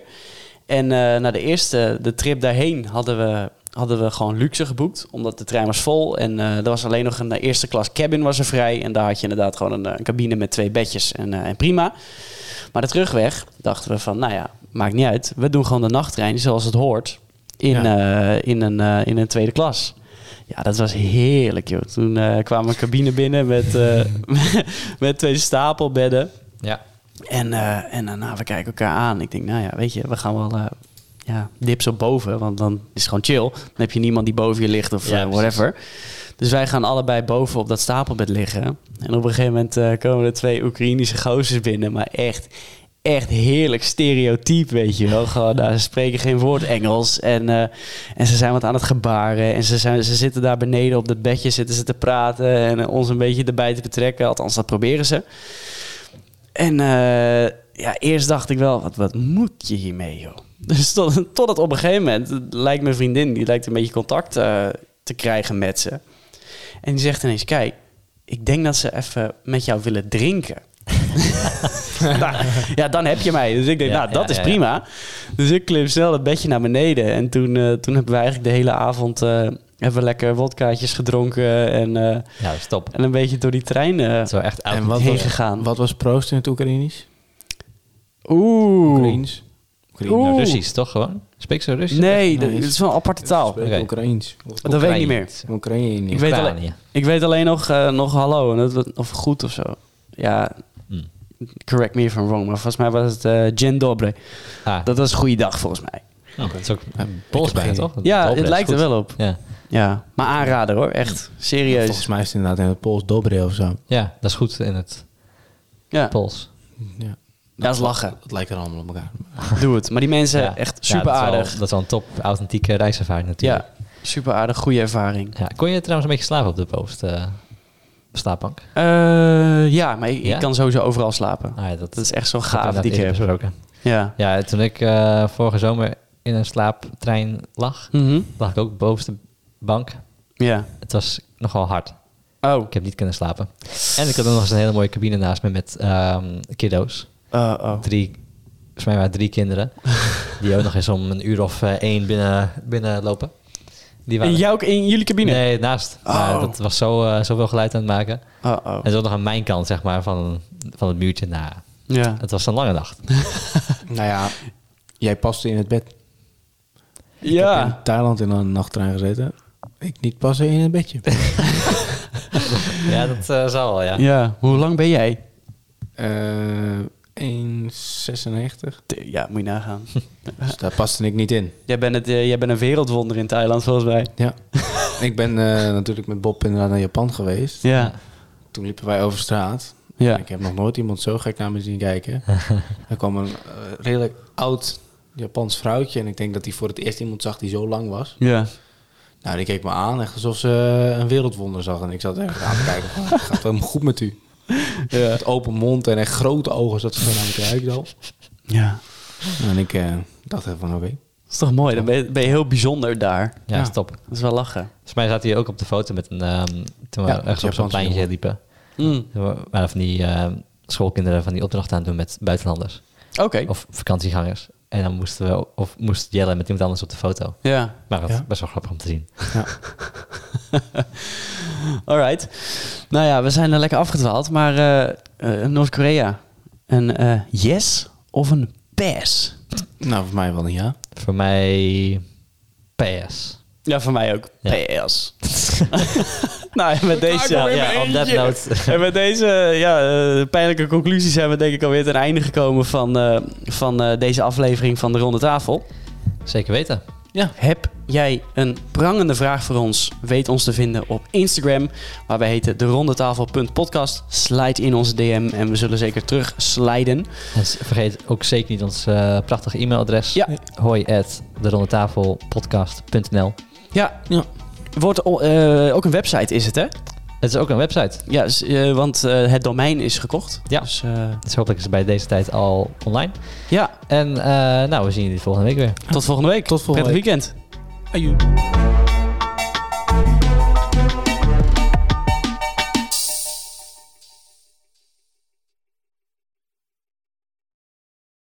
Speaker 2: En eh na de eerste, de trip daarheen, hadden we, hadden we gewoon luxe geboekt. Omdat de trein was vol en eh, er was alleen nog een eh, eerste klas cabin was er vrij. En daar had je inderdaad gewoon een, eh, een cabine met twee bedjes en, eh, en prima. Maar de terugweg dachten we van, nou ja, maakt niet uit. We doen gewoon de nachttrein zoals het hoort in, eh, in, een, eh, in een tweede klas. Ja, dat was heerlijk, joh. Toen eh kwam een cabine binnen met, eh, met twee stapelbedden.
Speaker 3: Ja.
Speaker 2: En, eh, en daarna, we kijken elkaar aan. Ik denk, nou ja, weet je, we gaan wel eh ja, dips op boven. Want dan is het gewoon chill. Dan heb je niemand die boven je ligt of
Speaker 3: Ja,
Speaker 2: eh,
Speaker 3: precies.
Speaker 2: whatever. Dus wij gaan allebei boven op dat stapelbed liggen. En op een gegeven moment eh, komen er twee Oekraïnische gozers binnen. Maar echt, echt heerlijk stereotyp, weet je wel. Gewoon, nou, ze spreken geen woord Engels. En, eh, en ze zijn wat aan het gebaren. En ze, zijn, ze zitten daar beneden op dat bedje zitten ze te praten. En eh, ons een beetje erbij te betrekken. Althans, dat proberen ze. En eh, ja, eerst dacht ik wel, wat, wat moet je hiermee, joh? Dus tot, totdat op een gegeven moment eh, lijkt mijn vriendin, die lijkt een beetje contact eh, te krijgen met ze. En die zegt ineens, kijk, ik denk dat ze even met jou willen drinken. Nou, ja, dan heb je mij. Dus ik denk,
Speaker 3: Ja,
Speaker 2: nou, dat
Speaker 3: ja,
Speaker 2: is
Speaker 3: ja, ja.
Speaker 2: prima. Dus ik klim snel het bedje naar beneden. En toen, eh, toen hebben we eigenlijk de hele avond eh, hebben we lekker wodkaatjes gedronken. En, eh,
Speaker 3: Ja, stop.
Speaker 2: en een beetje door die trein eh,
Speaker 3: Zo echt oud.
Speaker 4: En wat
Speaker 2: heen
Speaker 4: was-
Speaker 2: gegaan.
Speaker 4: Wat was proost in het Oekraïnisch?
Speaker 2: Oeh.
Speaker 4: Oekraïens? Oekraïne.
Speaker 2: Oeh.
Speaker 3: Russisch, toch gewoon? Spreek ze Russisch?
Speaker 2: Nee,
Speaker 4: Nee,
Speaker 2: dat-
Speaker 4: is-
Speaker 2: het is wel een aparte taal.
Speaker 4: Spreek
Speaker 3: Oké.
Speaker 4: Oekraïens.
Speaker 2: Dat weet ik niet meer.
Speaker 4: Oekraïne.
Speaker 2: Ik weet, alleen,
Speaker 3: Oekraïne.
Speaker 2: ik weet alleen nog, eh, nog hallo en dat, was- of goed of zo. Ja,
Speaker 3: Hmm.
Speaker 2: correct me if I'm wrong, maar volgens mij was het eh Dzień Dobre.
Speaker 3: Ah, dat,
Speaker 2: Dat was goede dag volgens mij.
Speaker 3: dat is ook
Speaker 4: heb
Speaker 3: Pools
Speaker 4: geen
Speaker 3: bijna,
Speaker 4: idee.
Speaker 3: toch?
Speaker 2: Ja,
Speaker 3: Dobre
Speaker 2: het
Speaker 3: is
Speaker 2: lijkt er
Speaker 3: goed.
Speaker 2: wel op.
Speaker 3: Ja.
Speaker 2: Ja, maar aanrader hoor, echt.
Speaker 4: Volgens
Speaker 2: Serieus.
Speaker 4: mij is het inderdaad in het Pools Dobre of zo.
Speaker 3: ja, dat is goed in het
Speaker 2: Ja,
Speaker 3: Pools.
Speaker 4: Ja.
Speaker 2: dat is lachen.
Speaker 4: Het lijkt er allemaal op elkaar.
Speaker 2: Doe het. Maar die mensen,
Speaker 3: Ja.
Speaker 2: echt
Speaker 3: Ja,
Speaker 2: super
Speaker 3: dat is wel-
Speaker 2: aardig.
Speaker 3: Dat is wel een top authentieke reiservaring natuurlijk.
Speaker 2: Ja, super aardig, goede ervaring.
Speaker 3: Ja. Kon je trouwens een beetje slapen op de bovenste eh, slaapbank?
Speaker 2: Eh, ja, maar ik, ik
Speaker 3: Ja?
Speaker 2: kan sowieso overal slapen.
Speaker 3: Ah, ja, dat,
Speaker 2: Dat is echt zo'n
Speaker 3: dat
Speaker 2: gaaf
Speaker 3: inderdaad
Speaker 2: die ik
Speaker 3: eerder
Speaker 2: heb.
Speaker 3: besproken.
Speaker 2: Ja.
Speaker 3: Ja, toen ik eh, vorige zomer in een slaaptrein lag,
Speaker 2: Mhm.
Speaker 3: lag ik ook bovenste bank.
Speaker 2: Ja.
Speaker 3: Het was nogal hard.
Speaker 2: Oh.
Speaker 3: Ik heb niet kunnen slapen. En ik had ook nog eens een hele mooie cabine naast me met ehm, kiddo's.
Speaker 2: Oh, oh.
Speaker 3: Drie, volgens mij waren het drie kinderen. die ook nog eens om een uur of eh, één binnen, binnen lopen. Die
Speaker 2: In, jouw, in jullie cabine?
Speaker 3: Nee, naast. Maar
Speaker 2: Oh.
Speaker 3: dat was zo, eh, zoveel geluid aan het maken.
Speaker 2: Oh, oh.
Speaker 3: En zo nog aan mijn kant, zeg maar, van, van het muurtje. Nou,
Speaker 2: Ja.
Speaker 3: het was een lange nacht.
Speaker 4: Nou ja, jij paste in het bed. Ik heb
Speaker 2: Ja.
Speaker 4: in Thailand in een nachttrein gezeten. Ik niet passen in het bedje.
Speaker 3: ja, dat eh, zal wel, ja.
Speaker 2: Ja. Hoe lang ben jij?
Speaker 4: Eh 1,96.
Speaker 2: Ja, moet je nagaan.
Speaker 4: Dus daar paste ik niet in.
Speaker 2: jij, bent het, eh, jij bent een wereldwonder in Thailand, volgens mij.
Speaker 4: Ja. ik ben eh, natuurlijk met Bob inderdaad naar Japan geweest.
Speaker 2: Ja.
Speaker 4: Toen liepen wij over straat.
Speaker 2: Ja.
Speaker 4: En Ik heb nog nooit iemand zo gek naar me zien kijken. er kwam een eh, redelijk oud Japans vrouwtje. En ik denk dat hij voor het eerst iemand zag die zo lang was.
Speaker 2: Ja.
Speaker 4: Nou, die keek me aan echt alsof ze eh, een wereldwonder zag. En ik zat echt aan te kijken van, "Het gaat wel goed met u?
Speaker 2: Ja.
Speaker 4: Met open mond en echt grote ogen zat ze zo naar me te kijken. zo.
Speaker 2: Ja.
Speaker 4: En ik eh, dacht even van, oké.
Speaker 2: Dat is toch mooi? Dan ben je, ben je heel bijzonder daar.
Speaker 3: Ja,
Speaker 4: Ja.
Speaker 3: stop.
Speaker 2: Dat is wel lachen.
Speaker 3: Volgens mij zat hij ook op de foto met een... ehm, toen we
Speaker 4: Ja,
Speaker 3: ergens op zo'n
Speaker 4: Japanse
Speaker 3: pleintje
Speaker 4: jongen.
Speaker 3: liepen.
Speaker 2: Mm.
Speaker 3: Toen we- waren van die ehm, schoolkinderen van die opdrachten aan het doen met buitenlanders.
Speaker 2: Oké.
Speaker 3: Of vakantiegangers. En dan moesten we... Of moest Jelle met iemand anders op de foto.
Speaker 2: Ja.
Speaker 3: Maar dat is
Speaker 4: Ja.
Speaker 3: best wel grappig om te zien.
Speaker 2: Alright. Nou ja, we zijn er lekker afgedwaald. Maar eh, eh, Noord-Korea. Een eh, yes of een pass?
Speaker 4: Nou, voor mij wel een ja.
Speaker 3: Voor mij... PS.
Speaker 2: Ja, voor mij ook.
Speaker 3: Ja.
Speaker 2: PS. nou, en met deze...
Speaker 3: Ja, ja, on that note.
Speaker 2: En met deze ja, eh, pijnlijke conclusie zijn we denk ik alweer ten einde gekomen van, eh, van eh, deze aflevering van de Ronde Tafel.
Speaker 3: Zeker weten.
Speaker 2: Heb jij een prangende vraag voor ons, weet ons te vinden op Instagram, waar wij heten de rondetafel.podcast. Slide in onze DM en we zullen zeker terug sliden.
Speaker 3: En s- vergeet ook zeker niet ons eh, prachtige e-mailadres.
Speaker 2: Ja.
Speaker 3: Hoi at de rondetafelpodcast.nl.
Speaker 2: Ja,
Speaker 4: Ja.
Speaker 2: Wordt, o- eh, ook een website is het, hè?
Speaker 3: Het is ook een website.
Speaker 2: Ja, s- eh, want eh, het domein is gekocht.
Speaker 3: Ja.
Speaker 2: Dus, eh,
Speaker 3: Dus hopelijk is het bij deze tijd al online.
Speaker 2: ja,
Speaker 3: En eh, nou, we zien jullie volgende week weer.
Speaker 2: tot volgende week.
Speaker 4: Tot volgende
Speaker 2: Prettig weekend.
Speaker 4: Aju.